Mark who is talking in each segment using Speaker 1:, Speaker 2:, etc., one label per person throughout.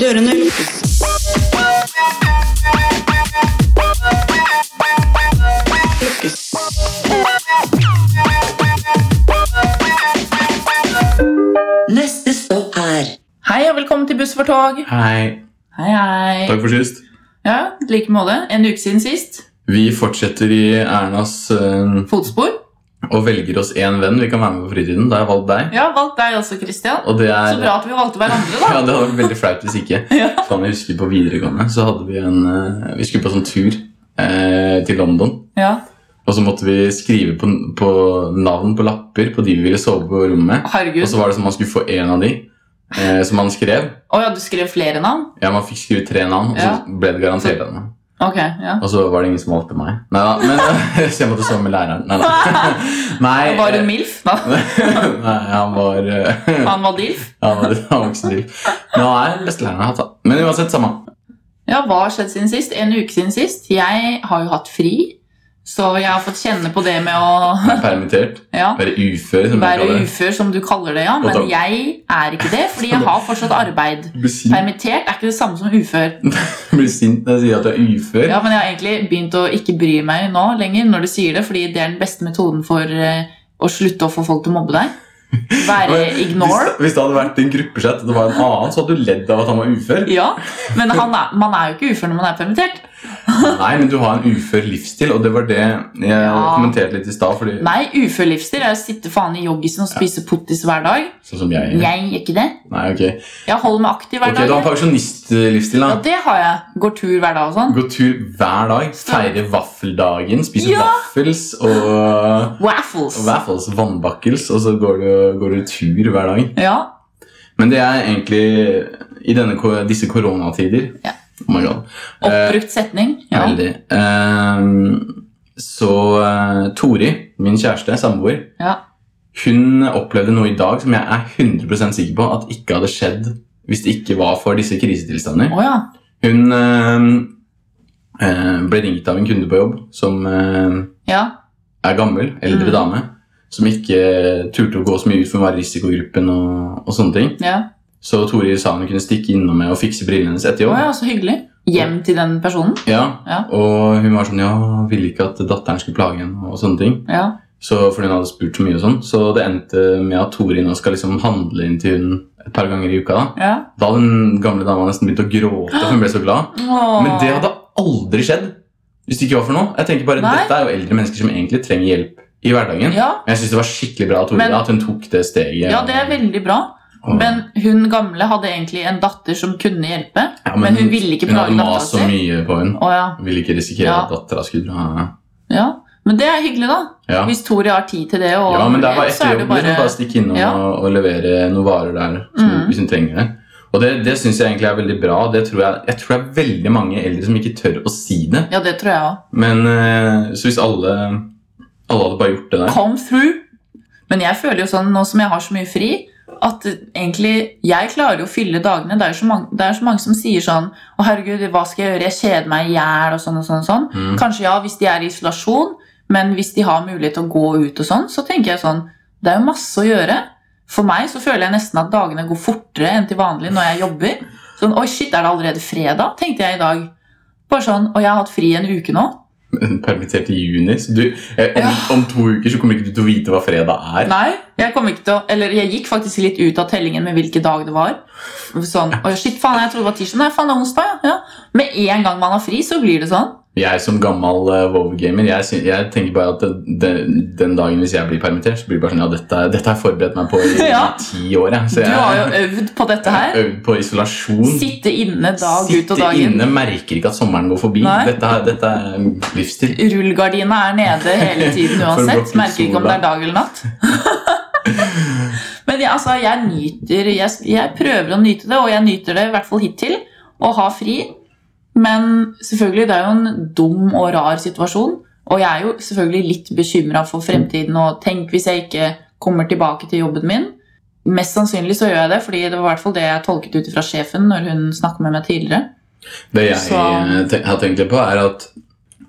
Speaker 1: Dørene lukkes. Lukkes. Neste stopp er
Speaker 2: Hei og velkommen til Buss for tog.
Speaker 3: Hei.
Speaker 2: Hei, hei.
Speaker 3: Takk for sist.
Speaker 2: Ja, i like måte. En uke siden sist.
Speaker 3: Vi fortsetter i Ernas eh,
Speaker 2: Fotspor.
Speaker 3: og velger oss én venn vi kan være med på fritiden. Da har jeg valgt deg.
Speaker 2: Ja, valgt deg også, Christian.
Speaker 3: Og det
Speaker 2: Så
Speaker 3: er
Speaker 2: bra at vi valgte hverandre,
Speaker 3: ja,
Speaker 2: da.
Speaker 3: det hadde vært veldig flaut hvis ikke.
Speaker 2: Ja.
Speaker 3: Faen, jeg husker På videregående så hadde vi en eh, Vi skulle på sånn tur eh, til London.
Speaker 2: Ja.
Speaker 3: Og så måtte vi skrive på, på navn på lapper på de vi ville sove på rommet med. Og
Speaker 2: Herregud.
Speaker 3: så var det som man skulle få én av de eh, som man skrev.
Speaker 2: Å ja, du skrev flere navn?
Speaker 3: Ja, Man fikk skrive tre navn, og
Speaker 2: Ja.
Speaker 3: så ble det garantert av meg.
Speaker 2: Ok, ja.
Speaker 3: Og så var det ingen som valgte meg. Nei da, men Så jeg måtte sove med læreren. Nei da. Nei,
Speaker 2: Var
Speaker 3: eh,
Speaker 2: hun MILF? Da?
Speaker 3: Nei, han var eh,
Speaker 2: Han var DILF?
Speaker 3: Han var han var ikke så dyr. Men han er den beste læreren jeg har hatt. da. Men uansett, samme.
Speaker 2: Ja, hva har skjedd siden sist? En uke siden sist. Jeg har jo hatt fri, så jeg har fått kjenne på det med å
Speaker 3: Jeg er permittert.
Speaker 2: ja,
Speaker 3: Være ufør, som jeg
Speaker 2: være
Speaker 3: kaller det.
Speaker 2: ufør, som du kaller det, ja. Men
Speaker 3: takk.
Speaker 2: jeg er ikke det, fordi jeg har fortsatt arbeid.
Speaker 3: Blir sint.
Speaker 2: Permittert er ikke det samme som ufør.
Speaker 3: Blir sint når jeg sier at jeg er ufør.
Speaker 2: Ja, men jeg har egentlig begynt å ikke bry meg nå lenger når du sier det, fordi det er den beste metoden for eh, å slutte å få folk til å mobbe deg. Være
Speaker 3: Men
Speaker 2: ignore.
Speaker 3: Hvis, hvis det hadde vært en gruppechat og det var en annen, så hadde du ledd av at han var ufør.
Speaker 2: Ja, men han er, man er jo ikke ufør når man er permittert.
Speaker 3: Nei, men du har en ufør livsstil, og det var det jeg
Speaker 2: Ja.
Speaker 3: kommenterte litt i stad. fordi
Speaker 2: Nei, ufør livsstil er å sitte faen i joggisen og spise pottis hver dag.
Speaker 3: Sånn som jeg gjør.
Speaker 2: Jeg gjør ikke det.
Speaker 3: Nei, ok.
Speaker 2: Jeg holder meg aktiv
Speaker 3: Ok,
Speaker 2: hver
Speaker 3: Du har en
Speaker 2: dag.
Speaker 3: pensjonistlivsstil,
Speaker 2: Ja,
Speaker 3: da.
Speaker 2: det har jeg. Går tur hver dag og sånn.
Speaker 3: Gå tur hver dag, feire vaffeldagen, spise
Speaker 2: Ja.
Speaker 3: vaffels og
Speaker 2: Waffles.
Speaker 3: Og Waffles, vannbakkels, og så går du, går du tur hver dag.
Speaker 2: Ja,
Speaker 3: Men det er egentlig i denne, ko- disse koronatider
Speaker 2: Ja.
Speaker 3: Oh my god. Eh,
Speaker 2: oppbrukt setning. Ja.
Speaker 3: Veldig. Eh, så eh, Tori, min kjæreste, samboer,
Speaker 2: Ja.
Speaker 3: hun opplevde noe i dag som jeg er 100 sikker på at ikke hadde skjedd hvis det ikke var for disse krisetilstander.
Speaker 2: Å ja.
Speaker 3: Hun eh, eh, ble ringt av en kunde på jobb som eh,
Speaker 2: Ja.
Speaker 3: er gammel, eldre
Speaker 2: Mm.
Speaker 3: dame, som ikke turte å gå så mye ut for å være i risikogruppen og, og sånne ting.
Speaker 2: ja.
Speaker 3: Så Tori sa hun kunne stikke innom med og fikse brillene hennes etter
Speaker 2: Å
Speaker 3: jobb.
Speaker 2: ja, så hyggelig. Hjem til den personen.
Speaker 3: Ja.
Speaker 2: Ja.
Speaker 3: Og hun var sånn, ja, ville ikke at datteren skulle plage henne og sånne ting.
Speaker 2: Ja.
Speaker 3: Så, fordi hun hadde spurt så mye og sånn. Så det endte med at Tori nå skal liksom handle inn til hun et par ganger i uka. Da
Speaker 2: ja.
Speaker 3: Da hadde den gamle dama nesten begynt å gråte, for hun ble så glad.
Speaker 2: Åh.
Speaker 3: Men det hadde aldri skjedd hvis det ikke var for noe. Jeg tenker bare,
Speaker 2: Nei.
Speaker 3: Dette er jo eldre mennesker som egentlig trenger hjelp i hverdagen.
Speaker 2: Ja,
Speaker 3: Men Jeg synes det var skikkelig bra av Tora
Speaker 2: Men-
Speaker 3: at hun tok det steget.
Speaker 2: ja, det er veldig bra.
Speaker 3: Og-
Speaker 2: Men hun gamle hadde egentlig en datter som kunne hjelpe,
Speaker 3: Ja,
Speaker 2: men, hun ville ikke
Speaker 3: hun hadde
Speaker 2: plage dattera
Speaker 3: mast så
Speaker 2: si.
Speaker 3: mye på henne.
Speaker 2: Å, ja.
Speaker 3: Ville ikke risikere
Speaker 2: Ja.
Speaker 3: at dattera skulle ha
Speaker 2: Ja. Men det er hyggelig, da.
Speaker 3: ja.
Speaker 2: Hvis Tori har tid til det. Og
Speaker 3: ja, men det er bare
Speaker 2: så
Speaker 3: etter
Speaker 2: er det
Speaker 3: jobb. Bare... Liksom bare stikke innom
Speaker 2: Ja.
Speaker 3: og, og levere noen varer der som,
Speaker 2: Mm.
Speaker 3: hvis hun trenger det. Og det, det syns jeg egentlig er veldig bra. Det tror jeg, jeg tror det er veldig mange eldre som ikke tør å si det.
Speaker 2: Ja, det tror jeg òg.
Speaker 3: Men eh, Så hvis alle, alle hadde bare gjort det der
Speaker 2: Come through. Men jeg føler jo sånn, nå som jeg har så mye fri, at egentlig Jeg klarer jo å fylle dagene. Det er jo så mange, det er så mange som sier sånn Å, herregud, hva skal jeg gjøre? Jeg kjeder meg i hjel, og sånn og sånn og sånn.
Speaker 3: mm.
Speaker 2: Kanskje ja, hvis de er i isolasjon, men hvis de har mulighet til å gå ut og sånn, så tenker jeg sånn Det er jo masse å gjøre. For meg så føler jeg nesten at dagene går fortere enn til vanlig når jeg jobber. Sånn, Oi, shit, er det allerede fredag? tenkte jeg i dag. Bare sånn, Og jeg har hatt fri en uke nå.
Speaker 3: Permittert i juni. Så du, eh, om,
Speaker 2: Ja.
Speaker 3: om to uker så kommer ikke du til å vite hva fredag er.
Speaker 2: Nei, jeg kom ikke til å Eller jeg gikk faktisk litt ut av tellingen med hvilken dag det var. Sånn, Oi, shit, faen, jeg trodde det var tirsdag. Nei, faen, det er onsdag. ja, ja. Med en gang man har fri, så blir det sånn.
Speaker 3: Jeg som gammel eh, WoW-gamer jeg, syn- jeg tenker bare at det- det- den dagen hvis jeg blir permittert, så blir det bare sånn Ja, dette, dette har jeg forberedt meg på i
Speaker 2: Ja.
Speaker 3: ti år. Jeg. Så
Speaker 2: Du
Speaker 3: jeg
Speaker 2: har jo øvd på dette her.
Speaker 3: øvd på isolasjon.
Speaker 2: Sitte inne dag ut
Speaker 3: Sitte
Speaker 2: og dag inn.
Speaker 3: inne, merker ikke at sommeren går forbi.
Speaker 2: Nei.
Speaker 3: Dette, er- dette er livsstil.
Speaker 2: Rullegardina er nede hele tiden
Speaker 3: For å
Speaker 2: uansett.
Speaker 3: blokke ut
Speaker 2: Merker ikke om det
Speaker 3: sola.
Speaker 2: er dag eller natt. Men jeg, altså, jeg nyter jeg, jeg prøver å nyte det, og jeg nyter det i hvert fall hittil. Å ha fri. Men selvfølgelig, det er jo en dum og rar situasjon. Og jeg er jo selvfølgelig litt bekymra for fremtiden. Og tenk hvis jeg ikke kommer tilbake til jobben min. Mest sannsynlig så gjør jeg det, fordi det var i hvert fall det jeg tolket ut fra sjefen når hun snakket med meg tidligere.
Speaker 3: Det jeg
Speaker 2: Så-
Speaker 3: eh, ten- har tenkt litt på, er at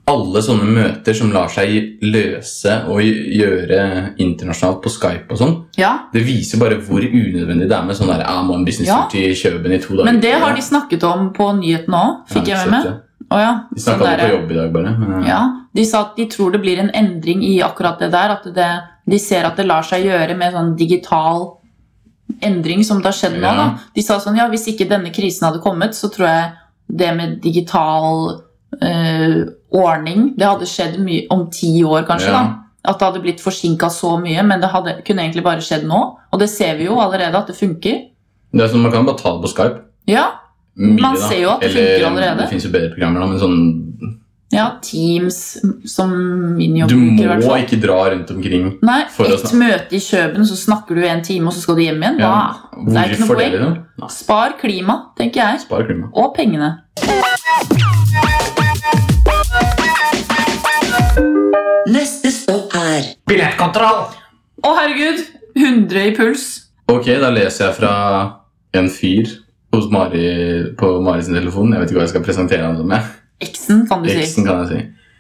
Speaker 3: alle sånne møter som lar seg løse og gjøre internasjonalt på Skype og sånn,
Speaker 2: Ja,
Speaker 3: det viser bare hvor unødvendig det er med sånn der ah, må en business
Speaker 2: Ja.
Speaker 3: til Kjøben i to dager.
Speaker 2: Men det har de snakket om på nyhetene òg, fikk jeg med meg. Å ja.
Speaker 3: De
Speaker 2: sånn
Speaker 3: snakka om det
Speaker 2: der,
Speaker 3: på jobb i dag, bare. men, eh,
Speaker 2: Ja, De sa at de tror det blir en endring i akkurat det der. At det, de ser at det lar seg gjøre med sånn digital endring som det har skjedd nå.
Speaker 3: Ja.
Speaker 2: da. De sa sånn ja, hvis ikke denne krisen hadde kommet, så tror jeg det med digital eh, ordning Det hadde skjedd mye om ti år, kanskje.
Speaker 3: Ja.
Speaker 2: da. At det hadde blitt forsinka så mye, men det hadde, kunne egentlig bare skjedd nå. Og det ser vi jo allerede at det funker.
Speaker 3: Det er sånn, Man kan bare ta det på Skype.
Speaker 2: Ja,
Speaker 3: Mye,
Speaker 2: Man
Speaker 3: da.
Speaker 2: ser jo at det
Speaker 3: Eller, um,
Speaker 2: funker allerede.
Speaker 3: Det fins jo bedre programmer, da, men sånn
Speaker 2: Ja, Teams som min
Speaker 3: Du
Speaker 2: jobbbruker i hvert
Speaker 3: må
Speaker 2: fall.
Speaker 3: ikke dra rundt omkring.
Speaker 2: Nei,
Speaker 3: for å
Speaker 2: ett
Speaker 3: snakke.
Speaker 2: møte i Kjøben, så snakker du i en time, og så skal du hjem igjen.
Speaker 3: Ja,
Speaker 2: Hva? Det er ikke noe
Speaker 3: Hvorfor det,
Speaker 2: poeng.
Speaker 3: liksom? Nei,
Speaker 2: Spar klima, tenker jeg.
Speaker 3: Spar klima.
Speaker 2: Og pengene.
Speaker 1: Neste stopp er
Speaker 4: Billettkontroll!
Speaker 2: Å, herregud! 100 i puls.
Speaker 3: Ok, da leser jeg fra en fyr hos Mari, på Mari sin telefon. Jeg vet ikke hva jeg skal presentere han som. jeg.
Speaker 2: Eksen, kan du si.
Speaker 3: Eksen kan jeg si.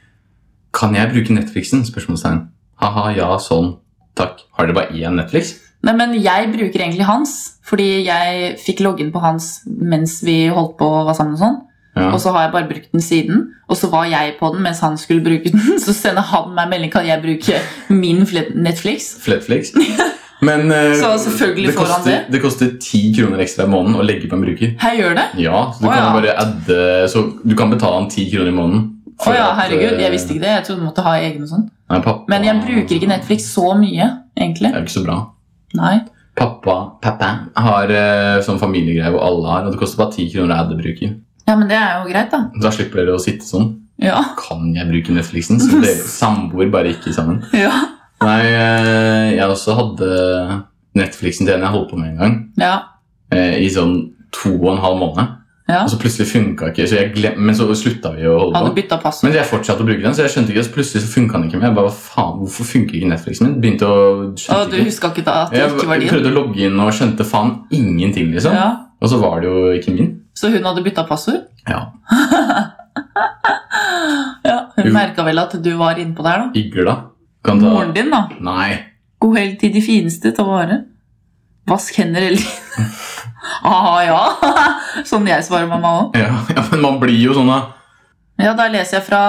Speaker 3: Kan jeg bruke Netflixen? Spørsmålstegn. Haha, ja, sånn. Takk. Har dere bare én Netflix?
Speaker 2: Nei, men jeg bruker egentlig hans, fordi jeg fikk loggen på hans mens vi holdt på og var sammen og sånn.
Speaker 3: Ja.
Speaker 2: Og så har jeg bare brukt den siden, og så var jeg på den mens han skulle bruke den. Så sender han meg melding, kan jeg bruke min flet- Netflix?
Speaker 3: Flatflix. Men eh,
Speaker 2: Så selvfølgelig
Speaker 3: det,
Speaker 2: får han
Speaker 3: koster,
Speaker 2: det.
Speaker 3: det koster 10 kroner ekstra i måneden å legge på en bruker.
Speaker 2: Her gjør det.
Speaker 3: Ja, så
Speaker 2: Å,
Speaker 3: du kan
Speaker 2: ja.
Speaker 3: bare adde Så du kan betale han 10 kroner i måneden. eh,
Speaker 2: Å ja, herregud, jeg visste ikke det. Jeg trodde du måtte ha egne og sånn.
Speaker 3: Nei, pappa,
Speaker 2: Men jeg bruker ikke Netflix så mye, egentlig.
Speaker 3: Det er jo ikke så bra.
Speaker 2: Nei.
Speaker 3: Pappa, pappa har eh, sånn familiegreie hvor alle har, og det koster bare 10 kroner å adde bruker.
Speaker 2: Ja, men det er jo greit, da.
Speaker 3: Da slipper dere å sitte sånn.
Speaker 2: Ja.
Speaker 3: Kan jeg bruke Netflixen? Så dere samboer bare ikke sammen.
Speaker 2: Ja.
Speaker 3: Nei, eh, jeg også hadde Netflixen til en jeg holdt på med en gang,
Speaker 2: Ja.
Speaker 3: eh, i sånn to og en halv måned.
Speaker 2: Ja.
Speaker 3: Og så plutselig funka ikke, så jeg glem, men så slutta vi å holde
Speaker 2: Hadde
Speaker 3: på.
Speaker 2: bytta passord.
Speaker 3: Men jeg fortsatte å bruke den, så jeg skjønte ikke, så plutselig så funka den ikke mer. Jeg bare, hva faen, hvorfor funker ikke Netflixen min? Begynte å
Speaker 2: Å,
Speaker 3: skjønte
Speaker 2: du
Speaker 3: ikke.
Speaker 2: huska ikke da at det
Speaker 3: Jeg
Speaker 2: ikke var din?
Speaker 3: prøvde å logge inn og skjønte faen ingenting, liksom.
Speaker 2: Ja.
Speaker 3: Og så var det jo ikke min.
Speaker 2: Så hun hadde bytta passord?
Speaker 3: Ja.
Speaker 2: Ja, Hun
Speaker 3: Jo.
Speaker 2: merka vel at du var innpå der, da.
Speaker 3: Igla. Kan ta
Speaker 2: Moren din, da.
Speaker 3: Nei.
Speaker 2: God helg til de fineste til å vare. Vask hender hele tiden. Aha, ja. Sånn jeg svarer mamma òg.
Speaker 3: Ja, ja, men man blir jo sånn, da.
Speaker 2: Ja, da leser jeg fra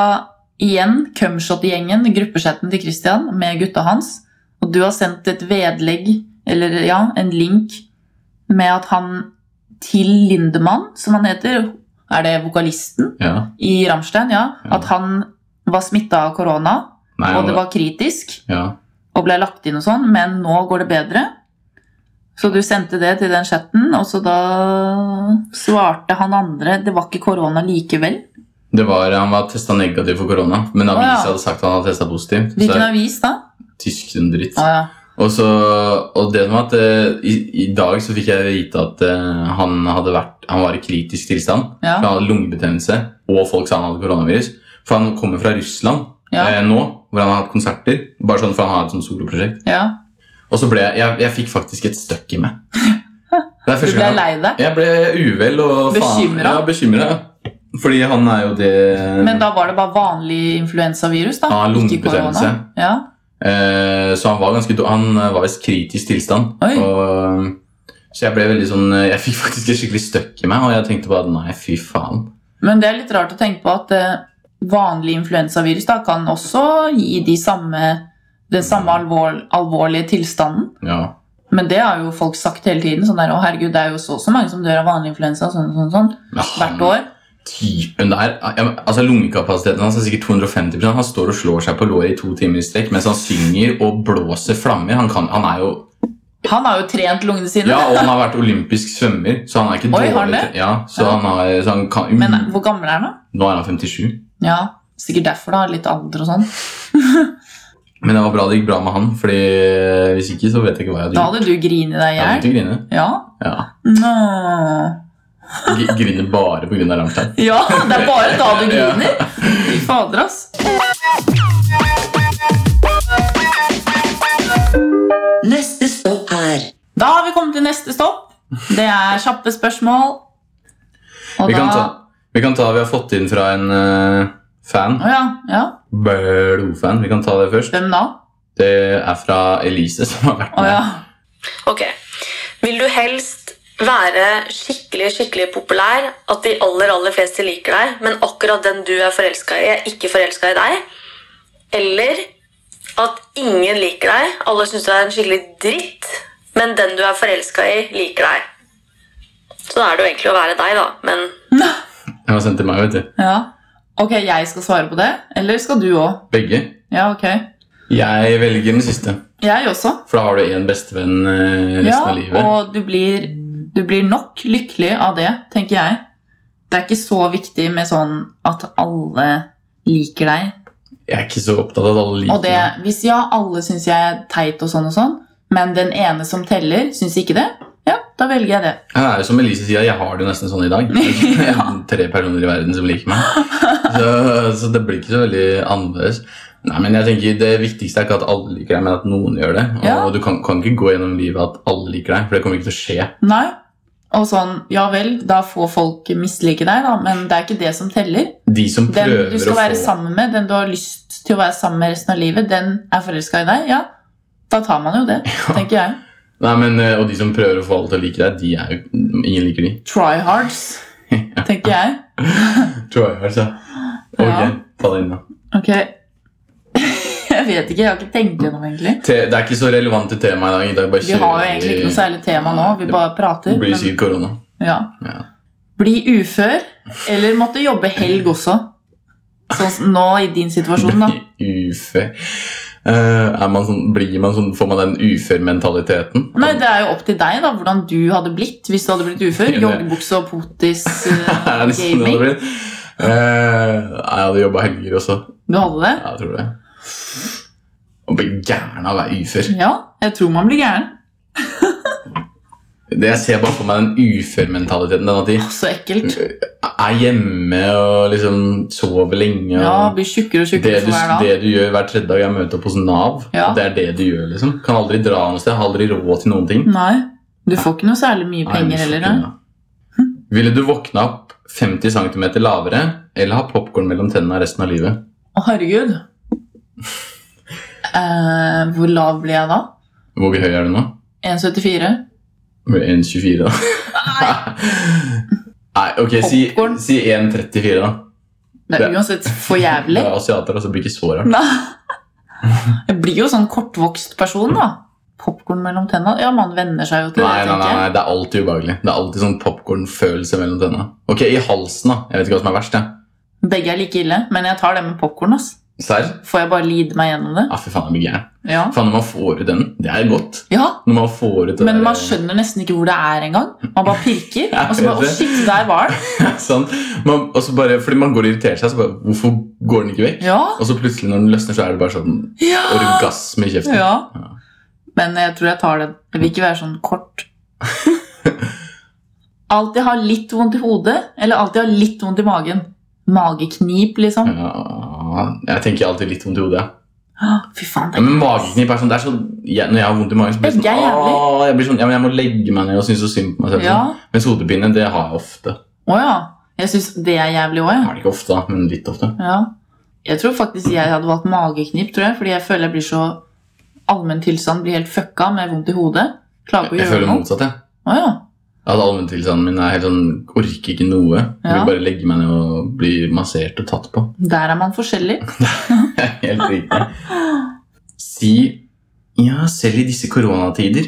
Speaker 2: igjen Cumshot-gjengen, gruppechatten til Christian med gutta hans. Og du har sendt et vedlegg, eller ja, en link med at han til Lindemann, som han heter, er det vokalisten
Speaker 3: Ja.
Speaker 2: i Rammstein, ja,
Speaker 3: Ja.
Speaker 2: at han var smitta av korona,
Speaker 3: Nei,
Speaker 2: og det var kritisk,
Speaker 3: ja.
Speaker 2: og ble lagt inn og sånn, men nå går det bedre. Så du sendte det til den chatten, og så da svarte han andre det var ikke korona likevel.
Speaker 3: Det var, Han var testa negativ for korona, men
Speaker 2: Å, ja.
Speaker 3: avisa hadde sagt at han hadde testa positivt. Så
Speaker 2: Hvilken
Speaker 3: det er
Speaker 2: avis da?
Speaker 3: tysk som dritt.
Speaker 2: Å ja.
Speaker 3: Og, så, og det som var at eh, i, I dag så fikk jeg vite at eh, han hadde vært Han var i kritisk tilstand.
Speaker 2: Ja.
Speaker 3: For Han hadde lungebetennelse, og folk sa han hadde koronavirus. For han kommer fra Russland
Speaker 2: Ja.
Speaker 3: eh, nå, hvor han har hatt konserter. Bare sånn for han har et sånt soloprosjekt.
Speaker 2: Ja,
Speaker 3: Og så ble jeg Jeg, jeg fikk faktisk et støkk i meg.
Speaker 2: du
Speaker 3: Det er første
Speaker 2: ble
Speaker 3: gang-
Speaker 2: lei deg.
Speaker 3: Jeg ble uvel og faen-
Speaker 2: Bekymret?
Speaker 3: Ja, bekymra. Fordi han er jo det
Speaker 2: Men da var det bare vanlig influensavirus, da?
Speaker 3: Mm.
Speaker 2: ikke
Speaker 3: Ja,
Speaker 2: korona.
Speaker 3: lungebetennelse.
Speaker 2: Ja.
Speaker 3: Eh, så han var ganske dår- Han eh, var visst kritisk tilstand.
Speaker 2: Oi.
Speaker 3: Og, eh, så jeg ble veldig sånn eh, Jeg fikk faktisk et skikkelig støkk i meg, og jeg tenkte bare nei, fy faen.
Speaker 2: Men det er litt rart å tenke på at eh, vanlig influensavirus da kan også gi de samme, den samme alvor, alvorlige tilstanden.
Speaker 3: Ja.
Speaker 2: Men det har jo folk sagt hele tiden. sånn der, å herregud, Det er jo så og så mange som dør av vanlig influensa sånn, sånn, sånn,
Speaker 3: Men
Speaker 2: hvert
Speaker 3: han
Speaker 2: år.
Speaker 3: typen der ja, men, Altså Lungekapasiteten hans er sikkert 250 Han står og slår seg på låret i to timer i strekk mens han synger og blåser flammer. Han, kan, han er jo
Speaker 2: Han har jo trent lungene sine.
Speaker 3: Ja, og han har vært olympisk svømmer, så han er ikke
Speaker 2: Oi,
Speaker 3: dårlig.
Speaker 2: har han
Speaker 3: til- Ja, så
Speaker 2: Ja.
Speaker 3: han, har, så han kan
Speaker 2: Men hvor gammel er han, da?
Speaker 3: Nå er han 57.
Speaker 2: Ja, Sikkert derfor, da. Litt alder og sånn.
Speaker 3: Men det var bra det gikk bra med han, Fordi eh, hvis ikke så vet jeg ikke hva jeg hadde
Speaker 2: Da
Speaker 3: gjort.
Speaker 2: hadde du grinet deg i
Speaker 3: Jeg hadde
Speaker 2: hjel.
Speaker 3: begynt å grine.
Speaker 2: Ja.
Speaker 3: Ja.
Speaker 2: Nå.
Speaker 3: Gr- Grine bare pga. Rammstein.
Speaker 2: Ja, det er bare da du griner. Fy fader, ass.
Speaker 1: Neste stopp er
Speaker 2: Da har vi kommet til neste stopp. Det er kjappe spørsmål. Og
Speaker 3: Vi kan,
Speaker 2: da
Speaker 3: ta, vi kan ta Vi har fått inn fra en eh, Fan.
Speaker 2: Å ja. ja.
Speaker 3: Blodfan. Vi kan ta det først.
Speaker 2: Hvem da?
Speaker 3: Det er fra Elise, som har vært
Speaker 2: Å
Speaker 3: med.
Speaker 2: ja.
Speaker 4: Ok. Vil du helst være skikkelig, skikkelig populær, at de aller, aller fleste liker deg, men akkurat den du er forelska i, er ikke forelska i deg? Eller at ingen liker deg, alle syns du er en skikkelig dritt, men den du er forelska i, liker deg? Så da er det jo egentlig å være deg, da, men
Speaker 3: Den var sendt til meg, vet du.
Speaker 2: ja. Ok, jeg skal svare på det? Eller skal du òg?
Speaker 3: Begge.
Speaker 2: Ja, ok.
Speaker 3: Jeg velger den siste,
Speaker 2: Jeg også.
Speaker 3: for da har du én bestevenn eh, resten
Speaker 2: Ja,
Speaker 3: av livet.
Speaker 2: og du blir, du blir nok lykkelig av det, tenker jeg. Det er ikke så viktig med sånn at alle liker deg.
Speaker 3: Jeg er ikke så opptatt av at alle liker
Speaker 2: Og det,
Speaker 3: meg.
Speaker 2: hvis ja, alle syns jeg er teit og sånn og sånn, men den ene som teller, syns ikke det, ja, da velger jeg det.
Speaker 3: Ja, Det er jo som Elise sier, jeg har det jo nesten sånn i dag. Det er Tre personer i verden som liker meg. Så, så det blir ikke så veldig annerledes. Nei, men jeg tenker Det viktigste er ikke at alle liker deg, men at noen gjør det. Og
Speaker 2: Ja.
Speaker 3: du kan, kan ikke gå gjennom livet at alle liker deg, for det kommer ikke til å skje.
Speaker 2: Nei. Og sånn, ja vel, da får folk mislike deg, da, men det er ikke det som teller.
Speaker 3: De som
Speaker 2: Den
Speaker 3: prøver
Speaker 2: du skal
Speaker 3: å
Speaker 2: være
Speaker 3: få
Speaker 2: sammen med, den du har lyst til å være sammen med resten av livet, den er forelska i deg, ja. Da tar man jo det, tenker jeg.
Speaker 3: Nei, men, eh, Og de som prøver å få alle til å like deg, de er jo Ingen liker de.
Speaker 2: Tryhards, tenker jeg.
Speaker 3: Tror jeg, altså. Ok,
Speaker 2: Ja.
Speaker 3: ta det inn, da.
Speaker 2: Ok. Jeg vet ikke, jeg har ikke tenkt gjennom egentlig.
Speaker 3: Te det er ikke så relevant til temaet i dag. i dag. Bare
Speaker 2: Vi har jo egentlig ikke noe særlig tema nå, vi bare prater.
Speaker 3: Det blir
Speaker 2: men-
Speaker 3: sikkert korona.
Speaker 2: Ja.
Speaker 3: Ja.
Speaker 2: Bli ufør, eller måtte jobbe helg også. Sånn som nå i din situasjon, da.
Speaker 3: Ufør. Eh, er man sånn, blir man sånn, får man den uførmentaliteten?
Speaker 2: Nei, Det er jo opp til deg da, hvordan du hadde blitt hvis du hadde blitt ufør.
Speaker 3: Ja, det-
Speaker 2: Joggebukse og potis,
Speaker 3: Er
Speaker 2: eh,
Speaker 3: det sånn det hadde
Speaker 2: gaming.
Speaker 3: blitt? Eh, jeg hadde jobba helger også.
Speaker 2: Du hadde det?
Speaker 3: Ja, jeg tror det. Å bli gæren av å være ufør.
Speaker 2: Ja, jeg tror man blir gæren.
Speaker 3: Det Jeg ser bare for meg den uførmentaliteten. Den at de
Speaker 2: Å, Så ekkelt.
Speaker 3: er hjemme og liksom sover lenge. Og
Speaker 2: Ja, Blir tjukkere og
Speaker 3: det,
Speaker 2: tjukkere for
Speaker 3: du,
Speaker 2: hver dag.
Speaker 3: det du gjør hver tredje dag, er å møte opp hos Nav.
Speaker 2: Ja.
Speaker 3: Det er det du gjør, liksom. Kan aldri dra noe sted. Har aldri råd til noen ting.
Speaker 2: Nei. Du får ikke noe særlig mye
Speaker 3: Nei,
Speaker 2: penger
Speaker 3: vi får
Speaker 2: heller.
Speaker 3: ikke
Speaker 2: nei.
Speaker 3: unna. Ville du våkna opp 50 cm lavere eller ha popkorn mellom tennene resten av livet?
Speaker 2: Å, herregud. Eh, hvor lav blir jeg da?
Speaker 3: Hvor høy er du nå?
Speaker 2: 1,74?
Speaker 3: 1,24, da. Nei, ok, si,
Speaker 2: Popcorn.
Speaker 3: si 1,34, da.
Speaker 2: Det
Speaker 3: Det-
Speaker 2: er uansett for
Speaker 3: Det
Speaker 2: jævlig.
Speaker 3: er asiater, altså. Det blir ikke så rart.
Speaker 2: Nei. Jeg blir jo sånn kortvokst person, da. Popkorn mellom tenna. Ja, man venner seg jo til
Speaker 3: Nei,
Speaker 2: det.
Speaker 3: nei, nei,
Speaker 2: tenker jeg.
Speaker 3: nei, det er alltid ubehagelig. Det er alltid sånn popkornfølelse mellom tennene. Ok, i halsen, da. Jeg vet ikke hva som er verst. jeg.
Speaker 2: Begge er like ille, men jeg tar det med popkorn.
Speaker 3: Serr?
Speaker 2: Får jeg bare lide meg gjennom det?
Speaker 3: Ja, fy faen, jeg blir gæren.
Speaker 2: Ja.
Speaker 3: Faen, når man får ut den, det er godt.
Speaker 2: ja.
Speaker 3: Når man får ut det
Speaker 2: Men
Speaker 3: der-
Speaker 2: man skjønner nesten ikke hvor det er engang. Man bare pirker,
Speaker 3: Ja,
Speaker 2: og så bare
Speaker 3: vet
Speaker 2: Å,
Speaker 3: du.
Speaker 2: shit, der var den!
Speaker 3: sånn. man, og så bare, fordi man går og irriterer seg, så bare Hvorfor går den ikke vekk?
Speaker 2: Ja.
Speaker 3: Og så plutselig når den løsner, så er det bare sånn
Speaker 2: ja.
Speaker 3: orgasme i kjeften.
Speaker 2: ja. Men jeg tror jeg tar det. Det vil ikke være sånn kort. Alltid ha litt vondt i hodet, eller alltid ha litt vondt i magen. Mageknip, liksom.
Speaker 3: Ja, jeg tenker alltid litt vondt i hodet.
Speaker 2: Ah, Fy faen,
Speaker 3: Ja,
Speaker 2: det er
Speaker 3: men mageknip er sånn, det er sånn jeg, Når jeg har vondt i magen, så blir det
Speaker 2: Det er
Speaker 3: sånn,
Speaker 2: jævlig.
Speaker 3: «Åh», jeg, blir sånn ja, men jeg må legge meg ned og synes så synd på meg selv.
Speaker 2: Ja.
Speaker 3: sånn. Mens hodepine, det har jeg ofte.
Speaker 2: Å ja. Jeg syns det er jævlig òg,
Speaker 3: Jeg
Speaker 2: jeg.
Speaker 3: har det ikke ofte, da, men litt ofte.
Speaker 2: Ja. Jeg tror faktisk jeg hadde valgt mageknip, tror jeg, fordi jeg føler jeg blir så Allmenntilstanden blir helt fucka med vondt i hodet. Klarer
Speaker 3: Jeg,
Speaker 2: ikke å
Speaker 3: jeg
Speaker 2: gjøre
Speaker 3: føler
Speaker 2: noe.
Speaker 3: motsatt, jeg.
Speaker 2: Å ja.
Speaker 3: At allmenntilstanden min er helt sånn Orker ikke noe. Jeg
Speaker 2: Ja.
Speaker 3: vil bare legge meg ned og bli massert og tatt på.
Speaker 2: Der er man forskjellig.
Speaker 3: Helt riktig. Si ja, selv i disse koronatider.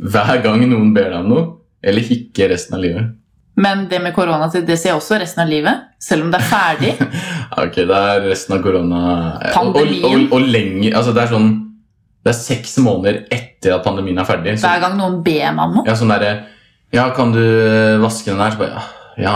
Speaker 3: Hver gang noen ber deg om noe. Eller hikke resten av livet.
Speaker 2: Men det med korona det ser jeg også resten av livet. Selv om det er ferdig.
Speaker 3: Ja, Ok, det er resten av korona og, og,
Speaker 2: Pandemien.
Speaker 3: og, og lenger Altså, det er sånn Det er seks måneder etter at pandemien er ferdig. Så,
Speaker 2: Hver gang noen ber meg om noe.
Speaker 3: ja, sånn derre Ja, kan du vaske den der? Så bare ja, ja.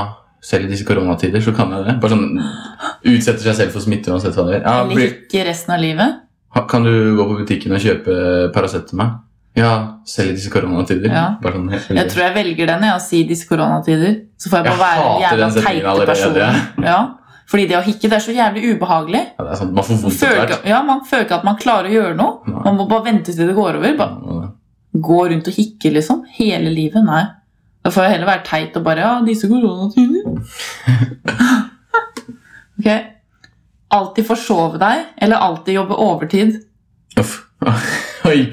Speaker 3: Selv i disse koronatider så kan jeg det. Bare sånn Utsetter seg selv for smitte uansett hva det er. Ja,
Speaker 2: Eller
Speaker 3: blir,
Speaker 2: ikke resten av livet.
Speaker 3: Ha- Kan du gå på butikken og kjøpe Paracet til meg? Ja, selv i disse koronatider.
Speaker 2: Ja.
Speaker 3: Bare sånn helt
Speaker 2: Jeg tror jeg velger den, jeg, å si disse koronatider. Så får jeg bare
Speaker 3: Jeg
Speaker 2: være den
Speaker 3: hater
Speaker 2: jævla
Speaker 3: den setningen
Speaker 2: teite
Speaker 3: allerede.
Speaker 2: personen. Ja. Fordi det å hikke, det er så jævlig ubehagelig.
Speaker 3: Ja, det er sant, Man får vondt
Speaker 2: Føler, ikke- ja, man føler ikke at man klarer å gjøre noe.
Speaker 3: Nei.
Speaker 2: Man må bare vente til det går over. Bare gå rundt og hikke liksom, hele livet. Nei. Da får jeg heller være teit og bare Ja, disse koronatider. ok. Alltid forsove deg, eller alltid jobbe overtid.
Speaker 3: Uff. Oi.